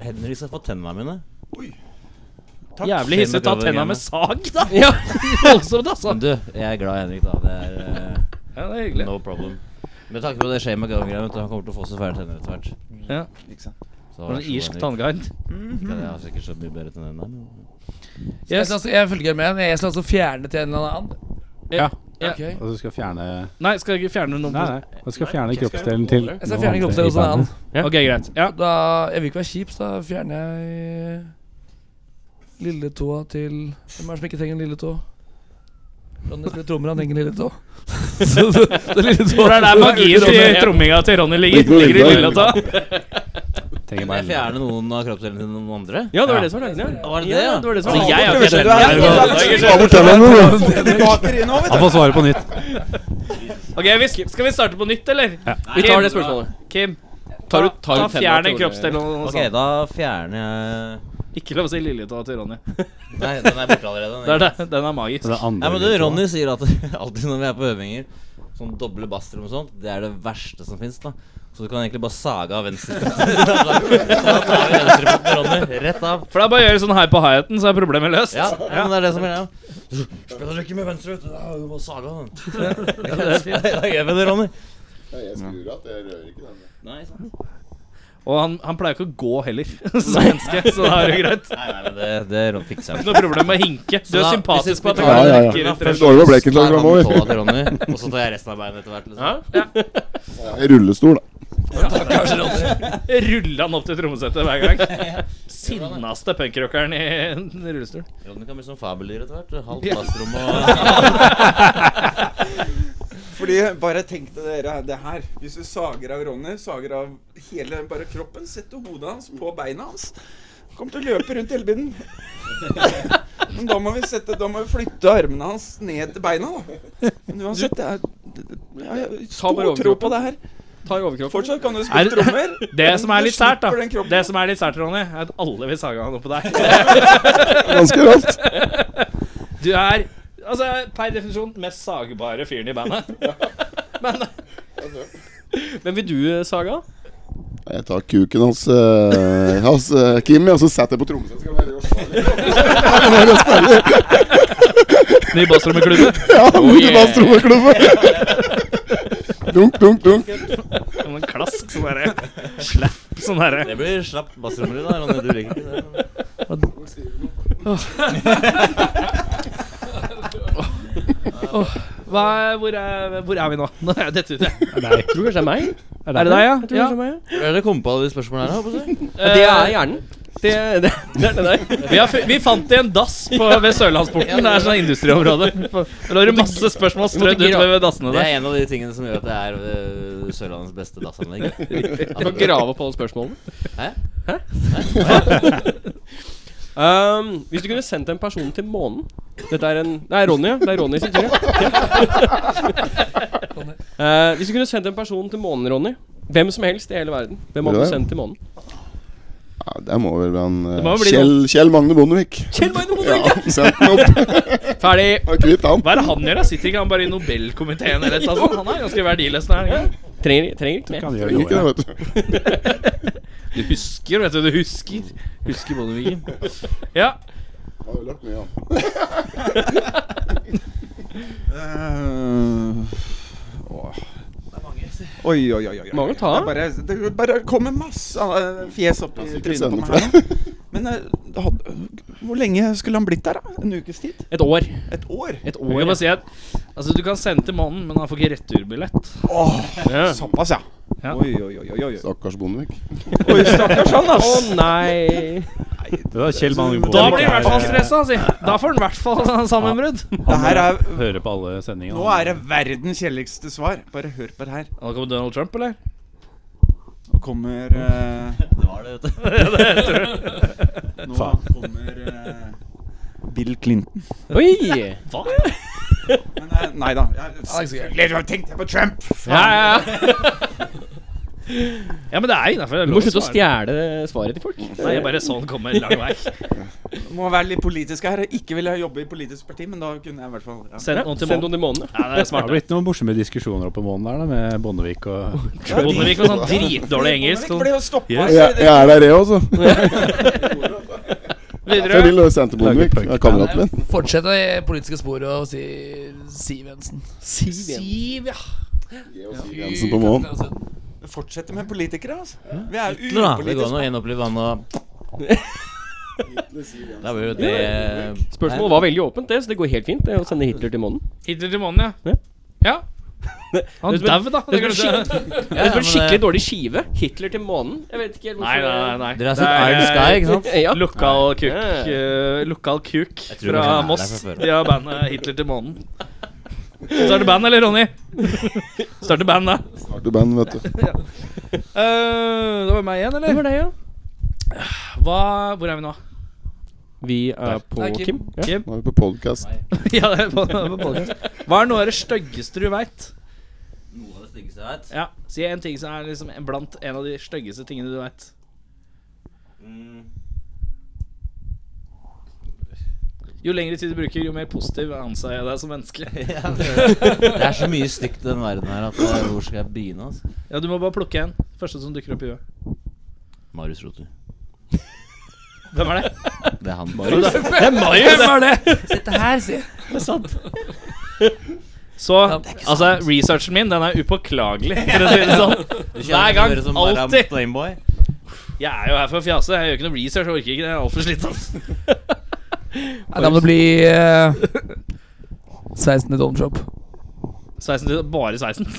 Henrik skal få tennene mine. Takk. Jævlig hissig å ta Skjønner programmet. tenna med sag, (laughs) da! Ja. Voldsomt, altså. Men du, jeg er glad i Henrik, da. Det er Ja, det er eh, hyggelig. no problem. Med tanke på det skjer med gangen, vet du, han kommer til å få seg færre tenner etter hvert. Ja. Ikke sant? Så Det var vær en så god, irsk Henrik. tannguide. Jeg har sikkert så mye bedre tenner enn deg. men- Jeg Yes. skal altså- Jeg følger med. Jeg skal altså fjerne til en eller annen. Ja. Ja. Ok Jeg Og du skal fjerne Nei, skal jeg ikke fjerne noen? Nei, på- nei. Du skal fjerne kroppsdelen til skal Altså, fjerne kroppsdelen hos en annen. Ok, greit. Ja. Da, jeg vil ikke være kjip, så da fjerner jeg lille tåa til Hvem er det som ikke trenger en lille tå? Ronny spiller trommer, han trenger en lille tå. (laughs) så det, det lille tå For det er der magien (laughs) til tromminga til Ronny ligger. Ligger i lilla ta. Trenger (laughs) Kan jeg bare fjerne noen av kroppsdelene til noen andre? Ja, det var det som var løgnen. Var det det, ja? Altså, det var det som Så var jeg er Kanskje du er ikke tilbake nå, vet Han får svare på nytt. (laughs) Ok, vi sk- Skal vi starte på nytt, eller? Vi tar det spørsmålet. Kim, Tar du- ta, tar du ta tenna fjern til en Ronny? kroppsdel. og Ok, sånn. da fjerner jeg Ikke lov å si lilletå til Ronny. (laughs) Nei, den er borte allerede. Det er Den. det. Den er magisk. Det er andre Nei, men du, videoer. Ronny sier at (laughs) alltid når vi er på øvinger, sånn doble basser og sånt, det er det verste som fins, da. Så du kan egentlig bare saga av venstre. (laughs) da tar vi venstrefoten til Ronny rett av. For det er bare å gjøre sånn her på hi-haten, så er problemet løst. Ja, ja, men det er det som er greia. Spiller du ikke med venstre, vet du. Da er det bare å saga av (laughs) den. (laughs) Da gjør vi det, Ronny. Ja, jeg skrur at jeg rører ikke den. Nei, Og han, han pleier ikke å gå heller, (laughs) som menneske, så da er det jo greit. nei, men det, det Ron- fikser Ikke han. noe problem med å hinke. Du Så er da- hvis sympatisk på at det vi tar- Ja, går ja, ja. rekker etter Først dårlig med bleken Tar slag han fremover. tåa til Ronny, og så tar jeg resten av beinet etter hvert. Liksom. I rullestol, da. en Rulle han opp til trommesettet hver gang. Sinnaste punkrockeren i en rullestol. Ronny kan bli som fabeldyr etter hvert. Halvt bassrom og (laughs) Fordi bare tenkte dere det her. Hvis du sager av Ronny, sager av hele bare kroppen, setter hodet hans på beina hans. Kommer til å løpe rundt hele bilen. Men da må vi sette Da må vi flytte armene hans ned til beina, da. Men uansett, det er ja, Jeg har bare stor tro overkroppen. på det her. Ta i overkroppen. Fortsatt kan du Er- spille trommer. (laughs) Det som er litt sært, da, Du slipper den kroppen. Det som er litt sært, Ronny, er at alle vil sage han oppå deg. Ganske raskt. Du er altså, per definisjon mest sagbare fyren i (laughs) bandet. Men, Hvem vil du, eh, Saga? Jeg tar kuken hans, eh, (laughs) hans eh, Kim, og så setter jeg på trommesett. så kan jeg gjøre sånn. Ny Oh, Bastrommeklubben. (laughs) Ja, Murmansk trommeklubbe! Dunk, dunk, dunk. Sånn en klask, sånn derre slapp, sånn derre Det blir slapt bassrommer i dag, Ronny. Du liker ikke det. Hva er- hvor, er- hvor er vi nå? Nå er jeg dette ute. Jeg tror kanskje det er meg. Er det deg, ja? Jeg tror kanskje det er meg, ja. Hva er det kom på alle de spørsmålene her? holdt jeg på å si? Eh, Det er hjernen. Det, (laughs) det, det er det der. vi, har, fu- vi fant det i en dass på, ved Sørlandsporten. Det er sånn industriområde. (laughs) Da har du masse spørsmål strødd ut ved ved dassene Det der. er en av de tingene som gjør at det er øh, Sørlandets beste (laughs) dassanlegg. Du kan grave opp alle spørsmålene. Hæ? Hæ? um, hvis du kunne sendt en person til månen Dette er en Det er Ronny, ja. Det er Ronny sin tur. ja. Eh, hvis du kunne sendt en person til månen, Ronny Hvem som helst i hele verden. Hvem hadde Ja. du sendt til månen? Ja, det må vel være en eh, må jo bli Kjell, Kjell Magne Bondevik. Kjell Magne Ja, Bondevik! (laughs) Sendt den opp. Ferdig. Har kvitt han. Hva er det han gjør? da? Sitter ikke han bare i Nobelkomiteen eller et eller annet? sånt? Han er ganske verdiløs. når han er ikke? Trenger, trenger ikke mer. Kan gjøre Trenger det ikke også, det, vet du. (laughs) Du husker, vet du. Du husker. Husker Bondeviken. (laughs) Ja. Har jo lagt mye, han. Eh, Oi, oi, oi. oi, oi. Mange å ta av. Det bare, det bare kommer masse eh, fjes opp i trynet sende på meg. her nå. (laughs) Men eh, det hadde, hvor lenge skulle han blitt der, da? En ukes tid? Et år. Et år? Et Jeg år vil ja. bare si at Altså, du kan sende til mannen, men han får ikke returbillett. Ja. Såpass, ja. Ja. Oi, oi, oi. oi, oi. Stakkars Bondevik. Oi, (laughs) stakkars han, Å ass. nei. Det var Kjell Magne Da blir Bondevik. han i hvert fall stressa, si. altså. Da får han i hvert (laughs) fall sammenbrudd. altså. Det her er, Hører på alle sendingene. nå er det verdens kjedeligste svar. Bare hør på det her. Nå kommer Donald Trump, eller? Nå kommer eh, Det var det, vet du. (laughs) Nå kommer eh, Bill Clinton. Oi! Men eh, nei da. Jeg, selvfølgelig tenkte jeg på Trump! Ja, ja, ja. (laughs) Ja, men det er innafor. Du må slutte å stjele svaret til folk. Nei, bare sånn kommer lang vei. Må være litt politisk her. Ikke ville jeg jobbe i politisk parti, men da kunne jeg i hvert fall ja. Send noen til Send månen. noen i måneden. Ja, det er Det har smart. blitt noen morsomme diskusjoner oppe i månen der da, med Bondevik og Bondevik var sånn dritdårlig engelsk. Bondevik ble jo stoppet altså. Yes. Jeg, i jeg er der, jeg også. Så jeg Videre. vil sende til Bondevik. Jeg er Kameraten min. Fortsett i politiske sporet og si Siv Jensen. Siv, ja. Jensen på månen. det. Fortsette med politikere, altså. Vi er jo Nå, da, Det går an upolitiske. å gjenopplive han og Da blir jo det eh, Spørsmålet var veldig åpent, det, så det går helt fint det, å sende Hitler til månen. Hitler til månen, ja. Ja. Han Det er dau, da. Det det er glemte jeg. Det er men, en skikkelig eh, dårlig skive. Hitler til månen. Jeg vet ikke helt Nei, nei, nei. nei. Dere har sett Eye in the Sky, ikke sant? Ja. Lokal kuk, Ja. eh, lokal kuk tror fra kanskje det er Moss. fra før. De har bandet Hitler til månen. Starter band, eller, Ronny? Starter band, da. Starter band, vet (laughs) du. Eh, det var meg igjen, eller? Det var det, ja. Hva, hvor er vi nå? (laughs) Vi er på Nei, Kim. Kim. Ja. Nå er vi på podcast (laughs) ja, det er på, det er på podcast. Hva er noe av det styggeste du veit? Noe av det styggeste jeg vet. Ja, Si en ting som er liksom blant en av de styggeste tingene du veit. Jo lengre tid du bruker, jo mer positiv anser jeg deg som menneske. Det er så mye stygt i den verden her at eh, hvor skal jeg begynne? altså? (laughs) Ja, Du må bare plukke en. Første som dukker opp i huet. Marius Roter. Hvem er (laughs) det? Det er han Marius. Hvem er det? Dette her, si. Så altså, researchen min, den er upåklagelig, for å si det sånn. Hver gang. Alltid. Playboy. Jeg er jo her for å fjase. Jeg gjør ikke noe research, jeg orker ikke. Det er altfor slitsomt. Nei, da må det bli eh, sveisen til Donald Trump. Sveisen til Bare sveisen.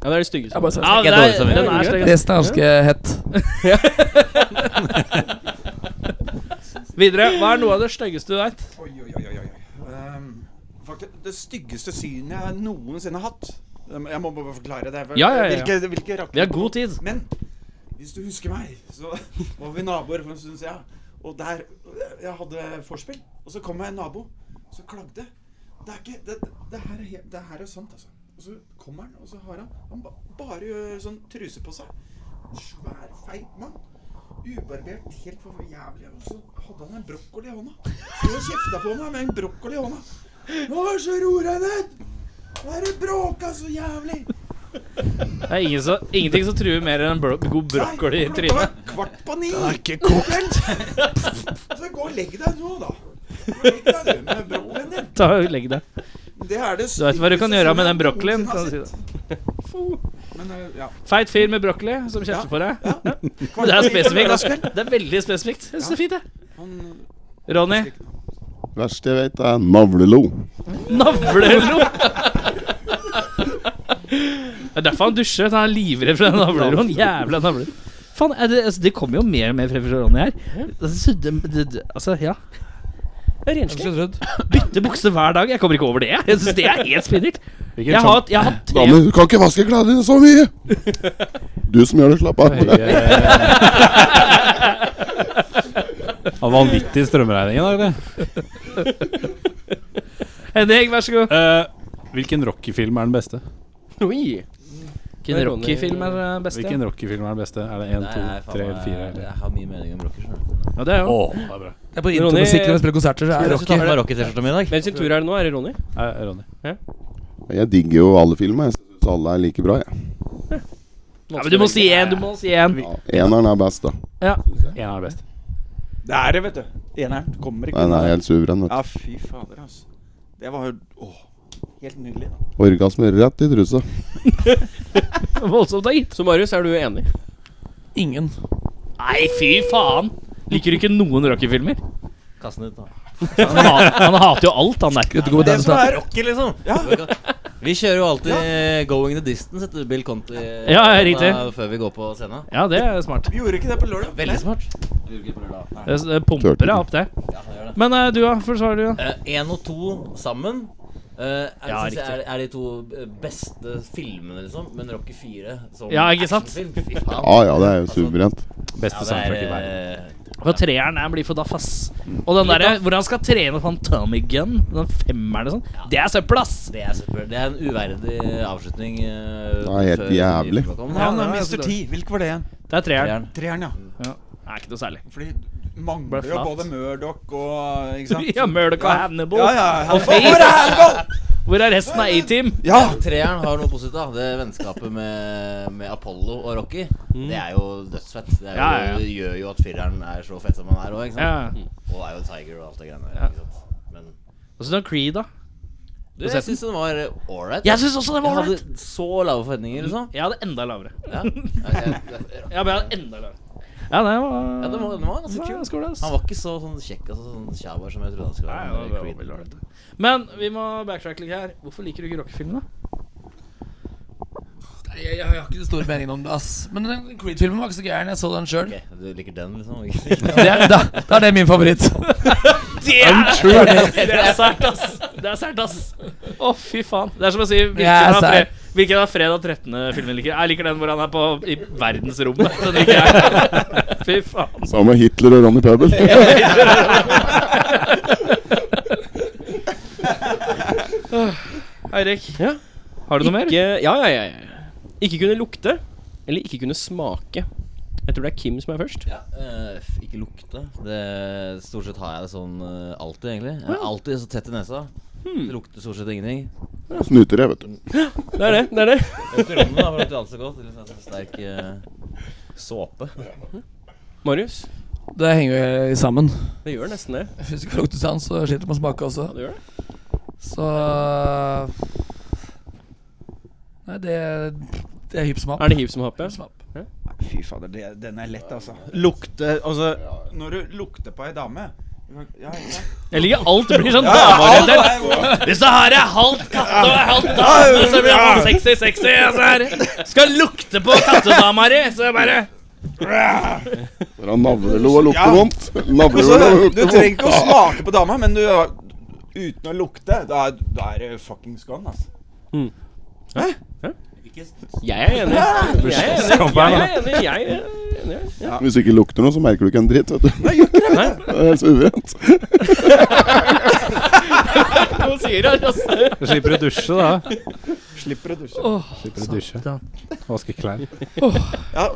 ja, det er det styggeste. Ja, bare Ja, sveisen. dårlig samvittighet. det er, den er stygg. Resten er ganske hett. (laughs) Videre. Hva er noe av det styggeste du veit? Oi, oi, oi, oi, oi. Ehm, faktisk, det styggeste synet jeg noensinne har hatt. Um, Jeg må bare forklare det. Ja, ja, ja, ja. Hvilke, hvilke rakker- Vi har god tid. Men hvis du husker meg, så (laughs) var vi naboer for en stund siden. Og der Jeg hadde vorspiel, og så kom jeg en nabo som klagde. Det er ikke Det, det, her, er, he- det her er sant, altså. Og så kommer han, og så har han Han ba, bare gjør sånn truse på seg. Svær, feit mann. Ubarbert, helt for jævlig. Og så hadde han en brokkoli i hånda. Så han kjefta på meg med en brokkoli i hånda. Nå så roer jeg ned! Nå er det bråka så jævlig! Det er ingen som, ingenting som truer mer enn en bro god Nei, brokkoli i klokka trynet. var Kvart på ni. Det er ikke kokt. (laughs) Så gå og legg deg nå, da. Gå og Legg deg du med brokkolien din. Ta og Legg deg. Det er det Du vet hva du kan styggeste gjøre med den jeg brokkolien. noensinne kan har du si sett. det. Men, eh, ja. Feit fyr med brokkoli som kjefter på deg. Kvart (laughs) Det på ni på er spesifikt. lørdagskveld. da. Det er veldig spesifikt. Jeg synes det er fint, jeg. Han- Ronny. Verste jeg vet, er navlelo. Navlelo! (laughs) Det er derfor han dusjer. Han er livredd for den navleroen. Jævla navler. Faen, er det, altså, det kommer jo mer og mer frem fra Ronny her. Altså, det, det, det, altså ja. Det er renslig. Skulle trodd. Bytte bukse hver dag. Jeg kommer ikke over det. Jeg synes det er helt spinnert. Jeg har, jeg har hatt tre Damer, du kan ikke vaske klærne dine så (laughs) mye! Du som gjør det, slapp av. Av (laughs) vanvittig strømregning i dag, det. (laughs) (laughs) Henning, vær så god. Eh, hvilken Rocky-film er den beste? (laughs) Oi. Hvilken Rocky-film er den beste? Hvilken Rocky-film er den beste? Er det én, Nei, to, jeg er faen tre eller meg- (laughs) fire? Eller? Jeg har mye mening om rocker. skjønner du. Ja, det er jo Åh, det er bra. Det er på Ronny- intromusikk når vi spiller konserter. Så er Jeg det har rock. ikke tatt på meg rocker-T-skjorta mi i dag. Hvem sin tur er det nå? Er det Ronny? Nei, Ronny. Jeg digger jo alle filmer. Jeg syns alle er like bra. jeg. ja, men Du må si én, du må si én. Ja, Eneren er best, da. Én er best. Det er det, vet du. Eneren kommer ikke Den er helt suveren. vet Ja, fy fader, altså. Det var jo åh, helt nydelig. da. du Orgasme rett i trusa. (laughs) Voldsomt, da, gitt. Så Marius, er du enig? Ingen. Nei, fy faen. Liker du ikke noen Rocky-filmer? Kast den ut, da. Han, ha- han hater jo alt, han der. Gutt, gå med Det den som snart. er rocker, liksom. (laughs) Vi kjører jo alltid Going the Distance etter Bill Conti eh, Ja, ja, da- riktig. før vi går på scenen. Ja, det er smart. Vi gjorde ikke det på lørdag. Veldig smart. Du gjorde ikke på lørdag. Nei. Det eh, det pumper deg opp, det. Ja, han gjør det. Men eh, du, da? Forsvarer du, da? Eh, En og to sammen Eh, er, Ja, synes jeg riktig. er, er de to eh, beste filmene, liksom. Men Rocky 4 som Ja, ikke sant? actionfilm, fy faen. Ja ja, det er jo suverent. Beste soundtrack i verden. eh, For treeren er blir for daff, ass. Og den der, hvor han skal trene på en Tommy Gun, den femmeren og sånn, det er søppel, ass! Det er super. Det er en uverdig avslutning. eh, Det er helt før jævlig. nyheten kom. Han er det var Mr. så T. Hvilken var det igjen? Det er treeren. Fjern. Treeren, ja. Det er ikke noe særlig. Fordi du Ble mangler jo flat. både Murdoch og (laughs) Ikke sant? Ja, Murdoch og Hannibal. Ja, ja, Og Hannibal. Hvor er Hannibal? Hvor er resten av A-Team? Ja! Treeren har noe positivt. da Det Vennskapet med, med Apollo og Rocky. Det er jo dødsfett. Det, er jo, Mm. Ja, ja, ja. det gjør jo at fireren er så fett som han er òg. Ja. Mm. Og er jo Tiger og alt det greiene der. Ikke sant? Men Og så er det Creed, da. du, jeg syns den var ålreit. Jeg syns også det var Jeg ålreit. hadde så lave forventninger, liksom. Jeg hadde enda lavere. Ja, ja, ja, ja. (laughs) Ja, men jeg hadde enda lavere. Ja, det var ja den, var, den var ganske kul. ganske ålreit, ass. Han var ikke så sånn kjekk altså, sånn sjabar som jeg trodde han skulle Nei, være. ja, det var Creed. veldig ålreit. Men vi må backtrack litt her. Hvorfor liker du ikke rockefilm, da? Nei, Jeg, jeg har ikke så stor mening om det, ass. Men den Creed-filmen var ikke så gæren. Jeg så den sjøl. Ok, du liker den, (laughs) liksom? Ikke- Det, er- da, da er det min favoritt. Det er, (laughs) det er sært, ass. Det er sært, ass. Å, fy faen. Det er som å si hvilken, Jeg er av, fre sært. hvilken av fredag 13.-filmen liker jeg? Jeg liker den hvor han er på i verdensrommet. Den liker jeg. Fy faen. Sammen med Hitler og Ronny (laughs) Pøbel. (laughs) Eirik, Ja. har du noe mer? Ikke, ja, ja, ja, ja. Ikke kunne lukte, eller ikke kunne smake. Jeg tror det er Kim som er først. Ja, eh, f- ikke lukte. Det, stort sett har jeg det sånn eh, alltid, egentlig. Jeg er alltid så tett i nesa. Det lukter stort sett ingenting. Snuter jeg, vet du. Hmm. Det er det. det er det Korona da, for det lukter alt så godt. Litt sånn sterk eh, såpe. Marius. Det henger jo sammen. Det gjør nesten det. Hvis du ikke har luktesans, sånn, så sliter du med å smake også. Ja, det gjør det. Så Nei, det, det er hipp som happ. Er det hiv som happ, ja? Hipp som happ. Fy fader, det, den er lett, altså. Lukte Altså, når du lukter på ei dame ja, ikke sant? Jeg liker alt blir sånn dameorientert. (laughs) Hvis det her er halvt katte og halvt dame, så blir det sånn sexy, sexy. og så her. Skal lukte på kattedama di, så bare Når han navlelo og lukter Ja. vondt. Navlelo Altså, og du lukter trenger ikke å vondt. smake på dama, men du Uten å lukte, da, er- da er det fuckings gone, altså. Mm. Jeg er enig. Jeg er enig. Jeg er enig. Jeg er enig. Ja. Hvis du ikke lukter noe, så merker du ikke en dritt, vet du. (laughs) Det er helt suverent. Hva sier du? altså? Du slipper å dusje, (laughs) da. Slipper å dusje. Slipper å dusje. Vaske klær. Ja,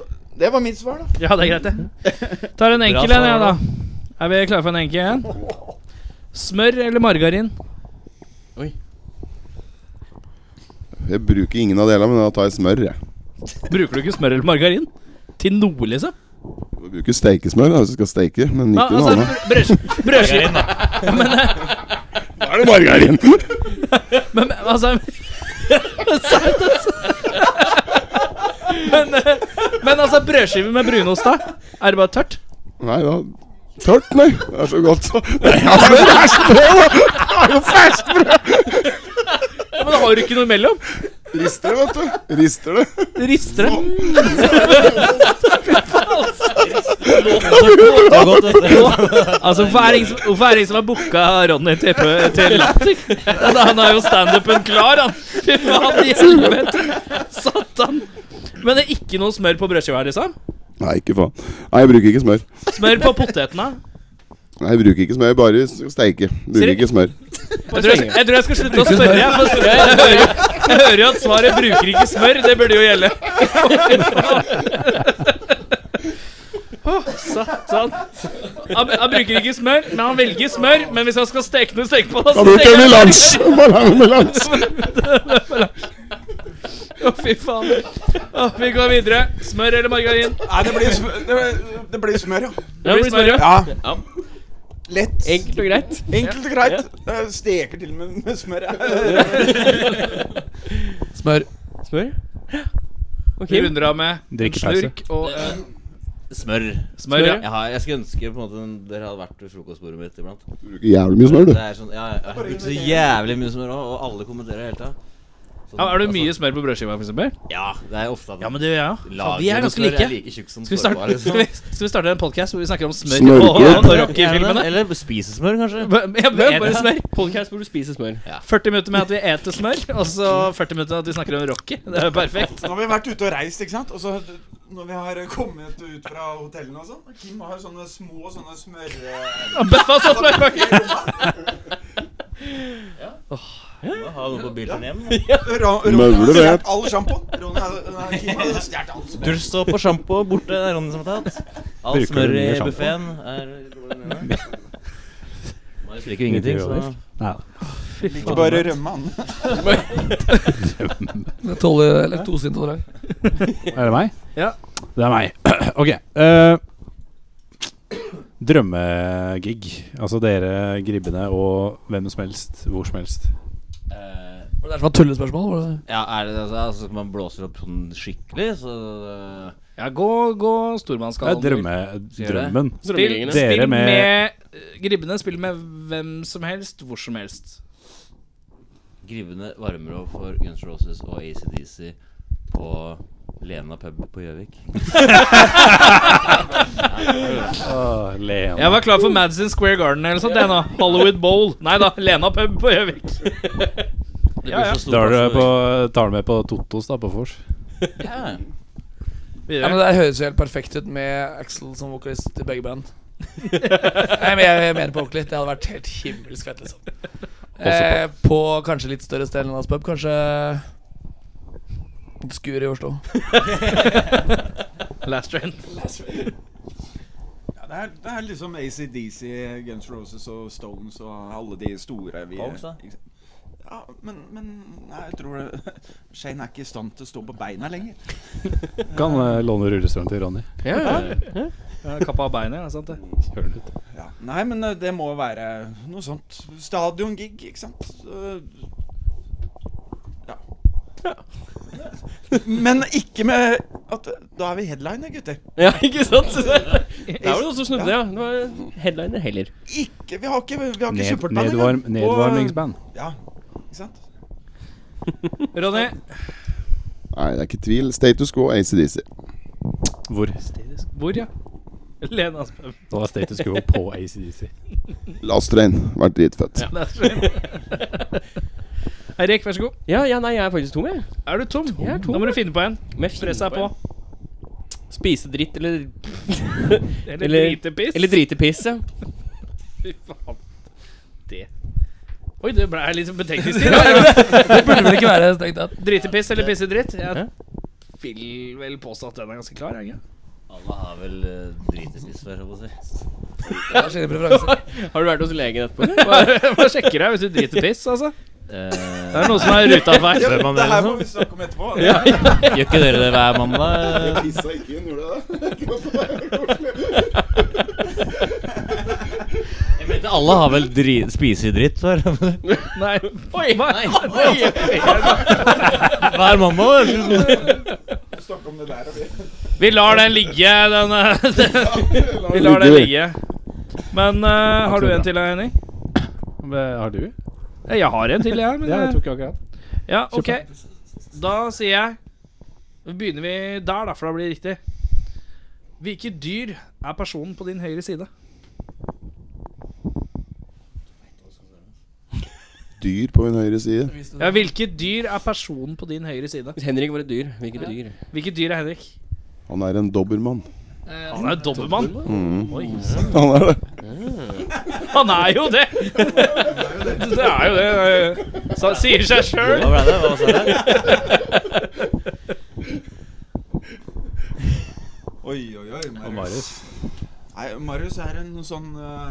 det var mitt svar, da. Ja, det er greit, det. Tar en enkel en, jeg, da. Er vi klare for en enkel en? Smør eller margarin? Jeg bruker ingen av delene, men da tar jeg smør, jeg. Bruker du ikke smør eller margarin? Til noe, liksom? Du bruker steikesmør da, hvis du skal steike, men Nei, ikke noe altså, annet. brødskive brødskive- Da er det margarin! Men men, altså Sant, altså. Men, eh, men altså, brødskive med brunost, da? Er det bare tørt? Nei da. Tørt, nei. Det er så godt, (laughs) så. Nei, ja, men det er smør, da! Det er jo ferskt brød! Ja, men da har du ikke noe imellom? Rister det, vet du. Rister det. Rister det? Det var godt, vet du. Altså, hvorfor er det ingen som- hvorfor er det ingen som har booka Ronny til, pø- til Latter? Ja, Han har jo standupen klar, han. Fy faen, i helvete. Satan. Men det er ikke noe smør på brødskiva her, liksom? Nei, ikke faen. Nei, jeg bruker ikke smør. Smør på potetene? Nei, jeg bruker ikke smør. Jeg bare s- steike. Bruker Sier- ikke smør. Jeg tror jeg, jeg tror jeg skal slutte å spørre. Jeg, for jeg, jeg, hører, jeg hører jo at svaret 'bruker ikke smør'. Det burde jo gjelde. (laughs) Åh, (laughs) Satan. Sånn. Han, han bruker ikke smør, men han velger smør. Men hvis han skal steke noe stekepanne Da bruker jeg melange. Bare (laughs) melange. Å, fy faen. Å, vi går videre. Smør eller margarin? Nei, det blir, sm- det, det blir smør, ja. Det blir smør, ja. Ja. Lett. Enkelt og greit. Enkelt og greit. Eh, Steker til og med med smør. (laughs) ja. Smør. Smør? Ok. Vi runder av med en Drikkepause. altså. slurk og eh, Smør. smør. Ja. Jeg, har, jeg skulle ønske på en måte dere hadde vært ved frokostbordet mitt iblant. Bruker jævlig mye smør, du. Det er sånn, ja, jeg har brukt så jævlig mye smør også, og alle kommenterer hele tida. Ja, er det mye smør på brødskiva, for eksempel? Ja, det er ofte at Ja, men det gjør jeg òg. Laget Vi er med ganske smør like. er like tjukt som Skal vi starte, sårbare, (laughs) skal liksom. vi, skal vi starte en podkast hvor vi snakker om smør Smørke. og, og, og Gjerne, rockefilmene? Eller spisesmør, kanskje. Ja, bare smør. Podcast hvor du spiser smør. 40 minutter med at vi eter smør, og så 40 minutter med at vi snakker om Rocky. Det er jo perfekt. Nå har vi vært ute og reist, ikke sant? Og så når vi har kommet ut fra hotellene og sånn Kim har jo sånne små sånne smør... eh, Bøffa satt smør bak. Ha noe på bilden hjem. Ron- Ronny har Møvler, det. stjålet all sjampoen. Ronny har- nei, Kim har stjålet all smør. Dusj og sjampo borte. Det er Ronny som har tatt. Alt Bruker smør du i mye shampoo? buffeen er går den ene. Marius liker jo ingenting, så Nei. Ikke bare rømme (laughs) han. Jeg tåler laktoseintolerant. (laughs) Er det meg? Ja. Det er meg. (clears throat) ok. eh, drømmegig. Altså dere gribbene og hvem som helst, hvor som helst. Eh, Var det der som var tullespørsmål? Var det? Ja, er det altså, altså man blåser opp sånn skikkelig, så eh, Ja, gå, gå Det er stormannsgallen. drømme, Sier dere? drømmen. Spill, Drømmegjengen. Dere spill med- med, Gribbene spill med hvem som helst, hvor som helst. Grivende varmer opp for Guns N' Roses og ACDC på Lena pub på (laughs) Gjøvik. Åh, Lena. Jeg var klar for Madison Square Garden eller sånt, jeg nå. Hollywood Bowl. Nei da, Lena pub på Gjøvik. Det blir Ja, ja. så stor Tar du plass på, for- tar du med på Totos da, på vors? Ja. Ja, men Videre. Det høres jo helt perfekt ut med Axel som vokalist i begge (laughs) band. Nei, men jeg, jeg mener på ordentlig. Det hadde vært helt himmelsk fett, liksom. Eh, på kanskje litt større sted enn hans pub. Kanskje et skur i (laughs) Oslo. Last train. Ja, det, er, det er liksom ACDC, Guns N' Roses og Stones og alle de store vi Pogues, da? Ja, men, men nei, jeg tror det, (laughs) Shane er ikke i stand til å stå på beina lenger. Kan eh, låne rullestølen til Ronny. Ja, Kappa av beinet, ja. Sant det? Kjører den ut. Ja. Nei, men eh, det må være noe sånt. Stadiongig, ikke sant? Eh, Ja. (laughs) Men ikke med at Da er vi headliner, gutter. Ja, ikke sant? (laughs) (laughs) Der var det noen som snudde, ja. Det var headliner heller. Ikke, vi har ikke, vi har ikke Ned, kjøpert nedvarm, nedvarmingsband. Ja, ikke sant? (laughs) Ronny? Nei, det er ikke tvil. Status quo, ACDC. Hvor? Hvor, ja? Lenas pub. Det var status quo på ACDC. Last Train. Vært dritfett. Last (laughs) train. Eirik, vær så god. Ja, ja, nei, jeg er faktisk tom, jeg. Er du tom? Jeg er tom, Da må du finne på en. Må jeg finne Pressa er på. en? Spise dritt eller (laughs) Eller, Eller- dritepiss. Eller drite piss, ja. (laughs) Fy faen. Det Oi, det ble litt sånn betenkningstid. Det burde vel ikke være strengt tatt. Dritepiss eller pisse dritt? Ja. Jeg vil vel påstå at den er ganske klar. Jeg. Alle har vel eh, dritepiss før, jeg må si. Det er sine preferanser. (laughs) Har du vært hos legen etterpå? eller? Bare, bare sjekker deg hvis du driter piss, altså. Eh, (laughs) Det er noe som er ruta feil. Spør man det, Det her må liksom? vi snakke om etterpå. (laughs) (laughs) Gjør ikke dere det hver mandag? Pissa ikke inn, gjorde (laughs) Jeg mente alle har vel dri spise dritt før. Nei. Oi, nei. Hver mandag, vel? Vi snakker om det der og vi. Vi lar den ligge, den eh, (laughs) Vi det? lar den ligge. Men eh, har du en til, Henning? Har du? Eh, Jeg har en til, jeg. Men, Ja, jeg eh, tok akkurat. ja, ok. Da sier jeg Da begynner vi der, da, for da blir det riktig. Hvilket dyr er personen på din høyre side? Dyr på min høyre side. Ja, Hvilket dyr er personen på din høyre side? Hvis Henrik var et dyr, hvilket dyr? Hvilket dyr er Henrik? Han er en dobbermann. Han er jo dobbeltmann. Oi, sant. Han er det. Han er jo (laughs) det! Det er jo det. Så sier seg sjøl. Hva ble det? Hva sa jeg? Oi, oi, oi, Marius. Marius. Nei, Marius er en sånn eh,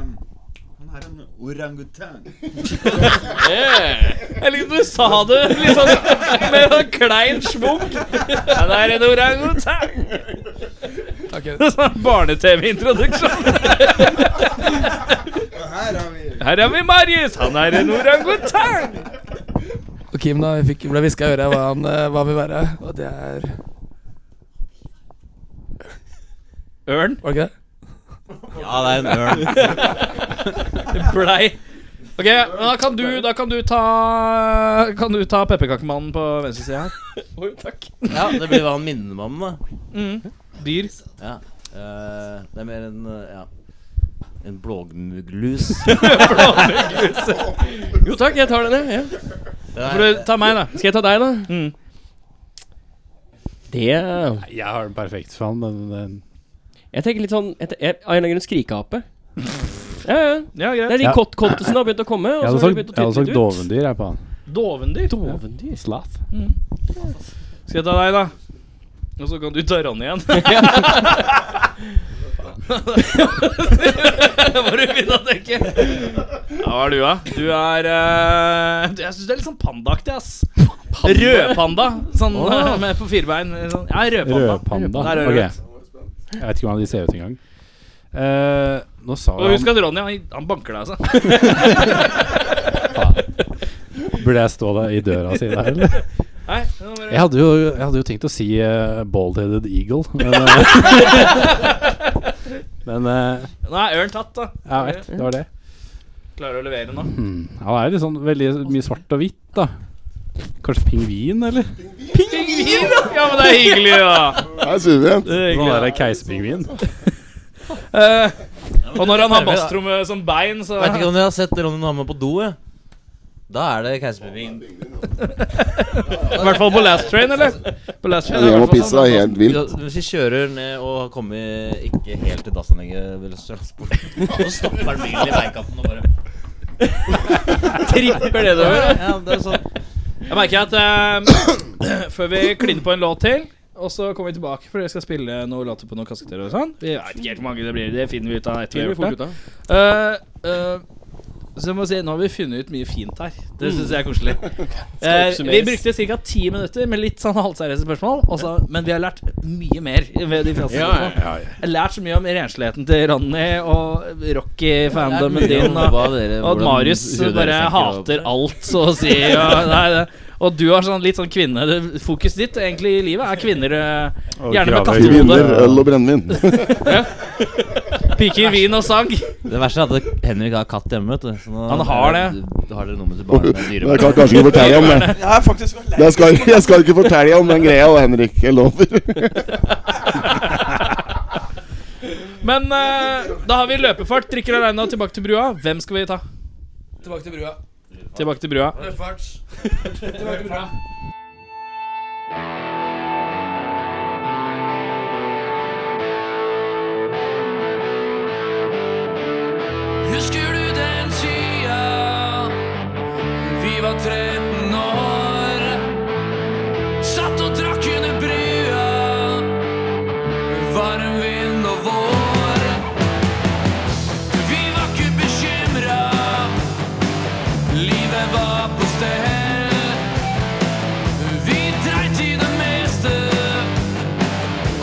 Han er en (laughs) orangutang. Eh. Jeg liker at du sa det litt sånn med en klein schwung. Ja, det er en orangutang. Ok. Sånn Barne-TV-introduksjon. Og her har vi Her har vi Marius. Han er en orangutang. Og Kim, da, jeg fikk, ble hviska i øret hva han eh, hva han vil være. Og det er Ørn Var det ikke det? Ja, det er en ørn. blei Ok, men da kan du, da kan du ta Kan du ta pepperkakemannen på venstre side her. Oi, takk. Ja, det blir hva han minner meg om, da. Dyr. Ja. eh, det er mer en eh, ja. En blåmugglus. (laughs) (laughs) (laughs) Jo takk, jeg tar den, jeg. Ja. Får du ta meg, da. Skal jeg ta deg, da? Mm. Det Jeg har den perfekt for han, men den- Jeg tenker litt sånn jeg, te- jeg, Av en eller annen grunn skrikeape. (laughs) Ja, ja. Ja, Det er greit. de Ja. kott kottisene har begynt å komme. Og Jeg så hadde har de sagt, begynt å jeg hadde sagt tyte litt ut. dovendyr jeg på han. Dovendyr. Dovendyr. Slath. Skal jeg ta deg, da? Og så kan du ta Ronny (laughs) igjen. Hva du begynner å tenke? Ja, hva er du, da? Du er eh, du- Jeg syns du er litt sånn pandaaktig, ass. Rødpanda. Sånn eh, med på firbein. Sånn. Ja, rødpanda. Rødpanda. Der er Ok. du rett. Jeg vet ikke hvordan de ser ut engang. Eh, nå sa Og jeg husk at Ronny han, han banker deg, altså. Burde jeg stå der i døra si der, eller? (laughs) Nei, Jeg det var bare- hadde jo, jeg hadde jo tenkt å si uh, bald-headed eagle, men eh, (laughs) Men eh, Nå er ørn tatt, da. jeg vet, det var det. Klarer å levere nå. Hmm. Han er litt sånn veldig mye svart og hvitt, da. Kanskje pingvin, eller? Pingvin, da! Ja, men det er hyggelig, da. Her sier vi en. Det er hyggelig, Sånn da. der keiserpingvin. Eh, og når han har basstromme som bein, så Veit ikke om dere har sett Ronny Namme på do, jeg. Da er det keiserpingvin. I hvert fall på Last Train, eller? På Last Train, Jeg i må hvert fall sånn pisse er helt vilt. Hvis vi kjører ned og kommer ikke helt til dassanlegget ved (laughs) Strasbourg, så stopper han bilen i veikanten og bare (laughs) Tripper det du hører. Ja, det er sånn Jeg merker at eh, (clears throat) før vi kliner på en låt til, og så kommer vi tilbake, for dere skal spille noen låter på noen kassetter og sånn. Vi vet ikke helt hvor mange det blir, det finner vi ut av etter vi har gjort det. Eh, eh, så jeg må si, nå har vi funnet ut mye fint her. Det syns jeg er (laughs) koselig. Eh, vi oppsummeres. brukte ca. ti minutter med litt sånn halvseriøse spørsmål, og så- men vi har lært mye mer ved de fleste Ja, ja, spørsmålene. Jeg har lært så mye om rensligheten til Ronny og Rocky-fandomen Det er mye om din. Og, hva dere- og at hvordan Marius dere bare tenker og- hater alt, så å si. Og, nei, det. og du har sånn litt sånn kvinne det- Fokuset ditt egentlig i livet er kvinner. eh, Og Gjerne med grave kattehode. Kvinner, øl og brennevin. (laughs) Piker, vin og sang. (laughs) Det verste er at Henrik har katt hjemme, vet du. Så nå Han har det. Du har dere nummeret til barnet med Men Jeg dyre kan kanskje ikke fortelle om (laughs) det. Jeg er faktisk veldig lei Jeg skal, jeg skal ikke fortelle om den greia, Henrik. Jeg lover. (laughs) Men eh, da har vi løpefart, drikker aleine og tilbake til brua. Hvem skal vi ta? Tilbake til brua. Tilbake til brua. Tilbake til brua. Husker du den tida vi var 13 år? Satt og drakk under brua, varm vind og vår. Vi var ikke bekymra, livet var på stell. Vi dreit i det meste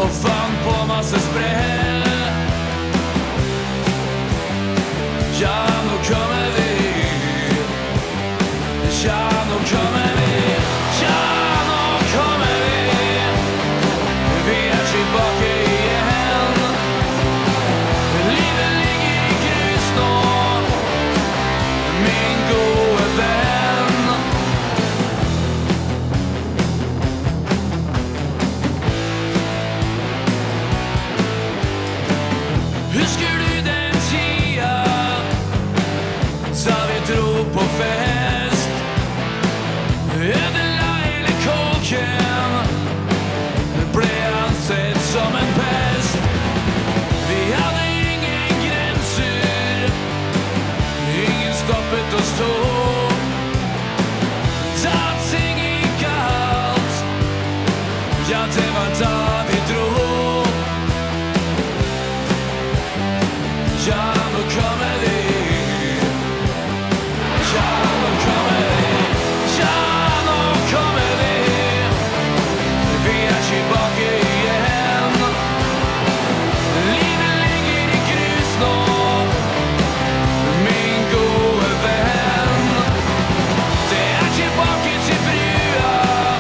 og fant på masse sprell. Ja, nå kommer vi. Ja, nå kommer vi. Ja, nå kommer vi. Vi er tilbake igjen. Livet ligger i grus nå, min gode venn. Husker du den tida da vi dro på fest? Ødela hele kåken, ble ansett som en pest. Vi hadde ingen grenser, ingen stoppet oss to. Da ting gikk galt, ja, det var da vi dro. Ja, nå kommer vi. Ja, nå kommer vi. Ja, nå kommer vi. Vi er tilbake igjen. Livet ligger i grus nå, min gode venn. Det er tilbake til brua.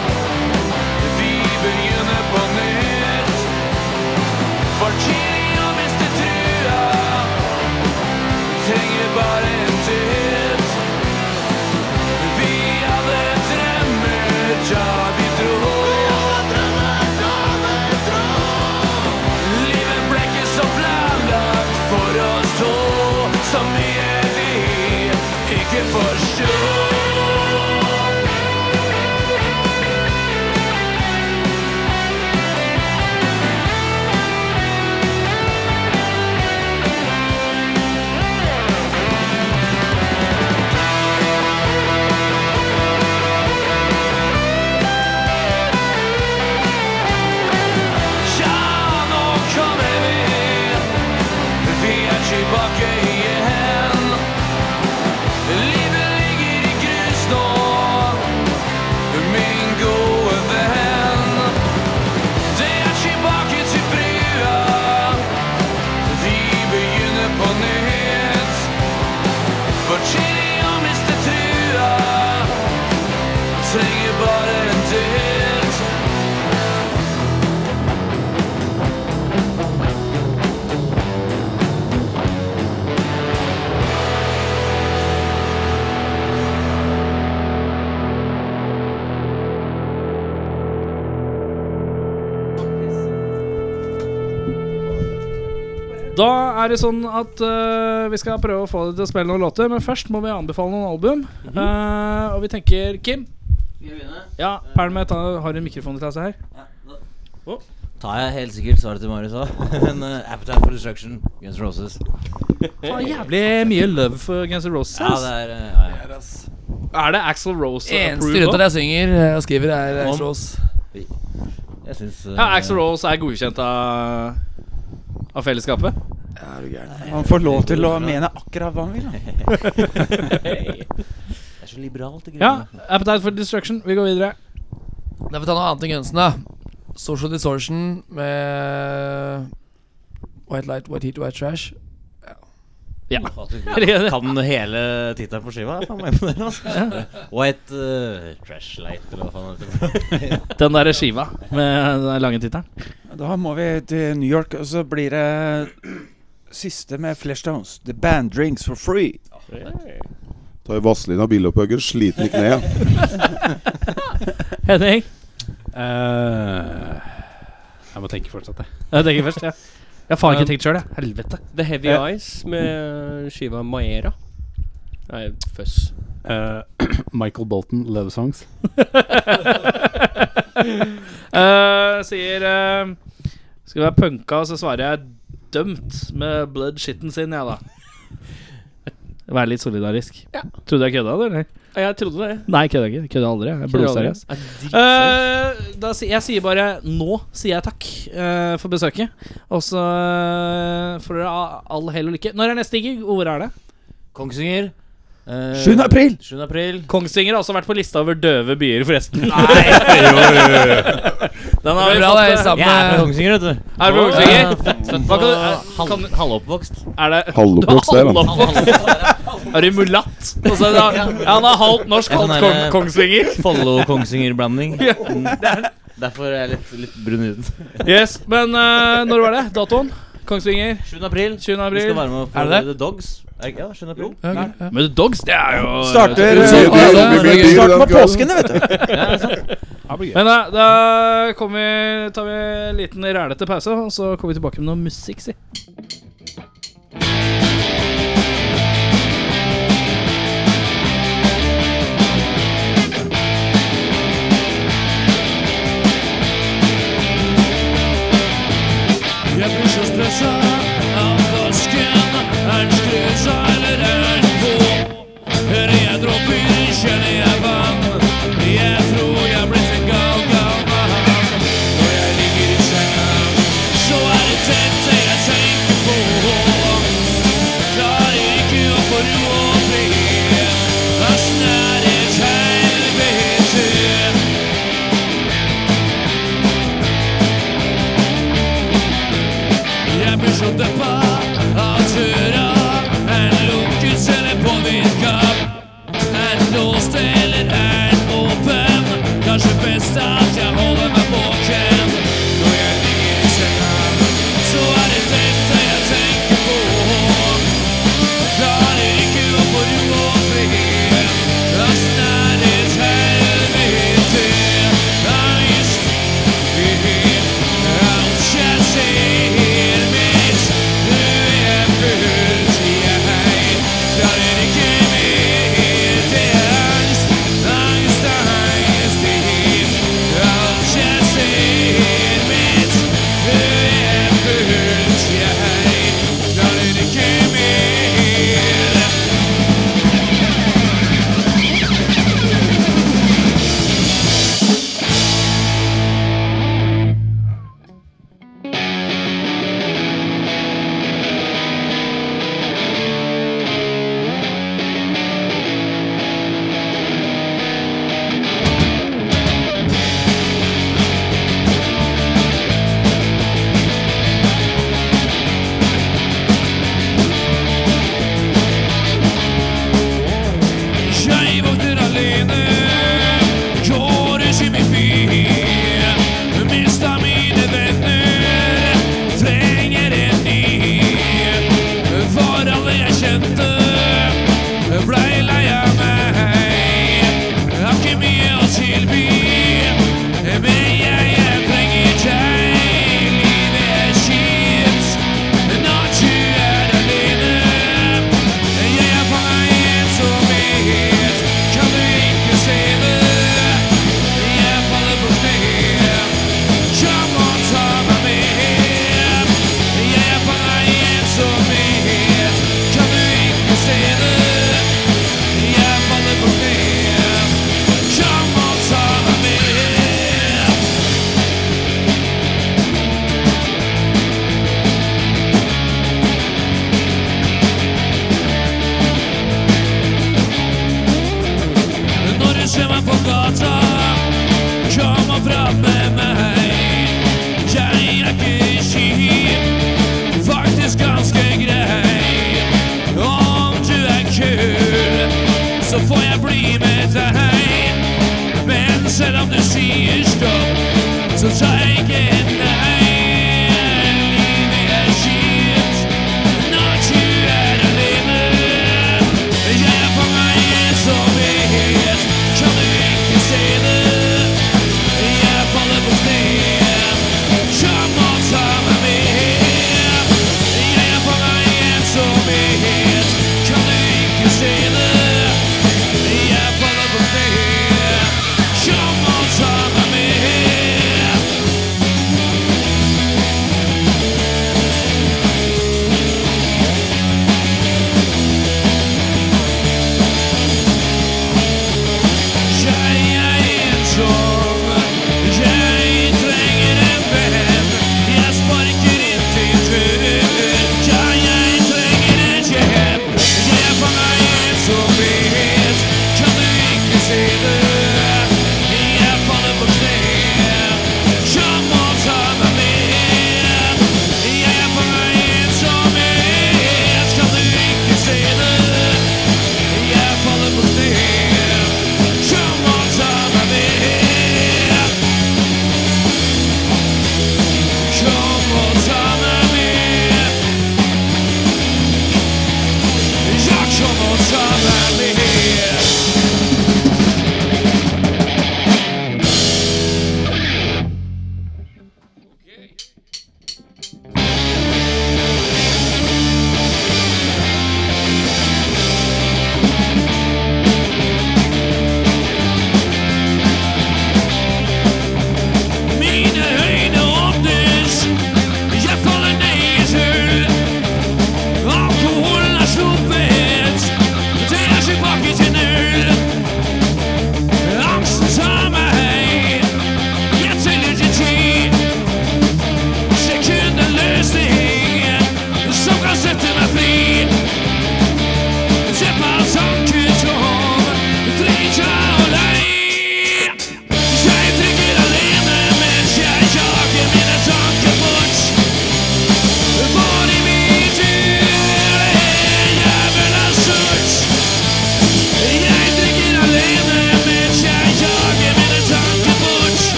Vi begynner på nytt. e e Da er det sånn at eh, vi skal prøve å få deg til å spille noen låter, men først må vi anbefale noen album. Eh, og vi tenker Kim. Ja, Perle, ta- har du en mikrofon til deg her? Tar jeg helt sikkert svaret til Marius òg. (laughs) Men eh, Appetite for Destruction, Guns N' Roses. Faen, jævlig mye love for Guns N' Roses. Ja, det er eh, ja, ja. Er det Axel Rose Eneste approved låta nå? jeg synger eh, og skriver, er Om. Axl Rose. Jeg syns eh, Ja, Axel Rose er godkjent av, av fellesskapet. Han får lov til å mene akkurat hva han (laughs) vil. da. (laughs) Det er så liberalt, ikke Ja, Appetite for Destruction. Vi går videre. Da får vi ta noe annet enn Gunsen, da. Social Distortion med White Light, White Heat, White Trash. (laughs) sant? Kan hele tittelen på skiva? er Faen meg imponerende. altså. White eh, Trash Light, eller hva faen det heter. Den derre skiva med den lange tittelen. Da må vi til New York, og så blir det siste med Fleshstones. The band drinks for free. Tar Vazelina Bilopphøggers, sliten i kneet. Henning? Eh, jeg må tenke fortsatt, jeg. Jeg tenker først, ja. Jeg har faen ikke tenkt sjøl, jeg. Helvete. The Heavy Ja. Eyes med skiva Maera. Nei, føss. Eh, (clears throat) Michael Bolton, Love Songs. (laughs) Eh, sier eh, Skal vi være punka, så svarer jeg dømt med blood shitten (laughs) sin, jeg, da. Være litt solidarisk. Trodde jeg kødda, du, eller? Ja, Jeg trodde det. Nei, kødda ikke. Kødda aldri. Jeg er blodseriøs. Jeg er dritseriøs. Eh, da, si- jeg sier bare nå sier jeg takk eh, for besøket. Og så eh, får dere ha all hell og lykke. Når er neste gig, og hvor er det? Kongsvinger. eh, 7. april. 7. april. Kongsvinger har også vært på lista over døve byer, forresten. (laughs) (laughs) Den har vi Bra, det er fått. eh, sammen Jeg er fra med Kongsvinger, vet du. Er det på Ja, Kongsvinger? født- født Hva på kan du- halv- kan- halvoppvokst. Er det Halvoppvokst der, han. (laughs) Er du mulatt? (laughs) Og så er det, ja, han er halvt norsk, Det er sånn halvt kong, der- Kongsvinger. Follo-Kongsvinger-blanding. (laughs) Mm. Derfor er jeg litt, litt brun i huden. Yes, Men eh, når var det? Datoen? Kongsvinger? 7. april. 20. Vi skal april? være med på Er det det? The Dogs. Er det ikke- Ja, 7. april. Ja, ok, ja. Men The Dogs, det er jo Starter Det blir dyr, det blir dyr Starter den med kvelden. påskene, vet du. Men da, da kommer vi, tar vi en liten rælete pause, og så kommer vi tilbake med noe musikk, si. Jeg blir så stressa av påsken. Er den skrusa eller er den på? Hører jeg dråper, kjenner jeg vann. Jeg tror jeg blir til gal, gal mann. Når jeg ligger i senga, så er det dette jeg tenker på. Klarer ikke å få ro og fred. Åssen er det et helvete? Jeg blir så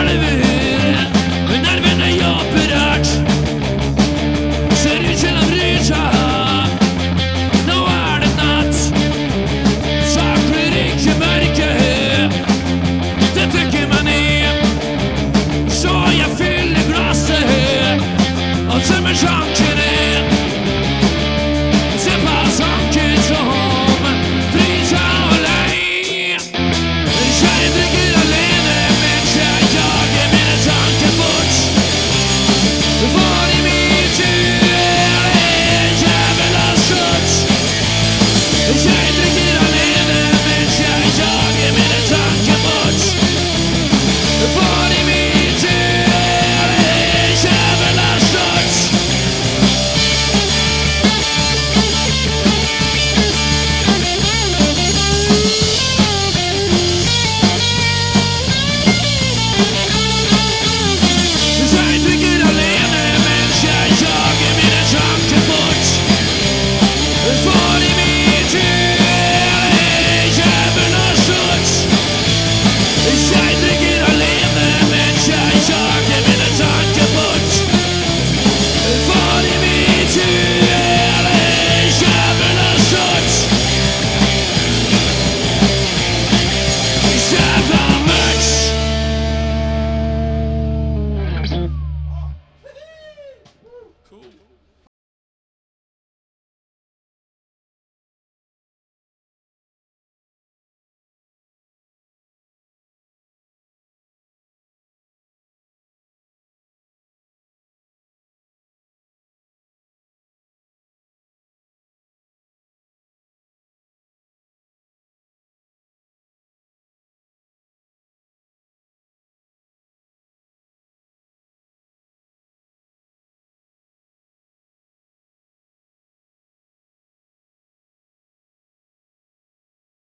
er er som er sjanken din. Se på sanken som fryser og lei. Kjære drikker alene mens jeg jager mine tanker bort. For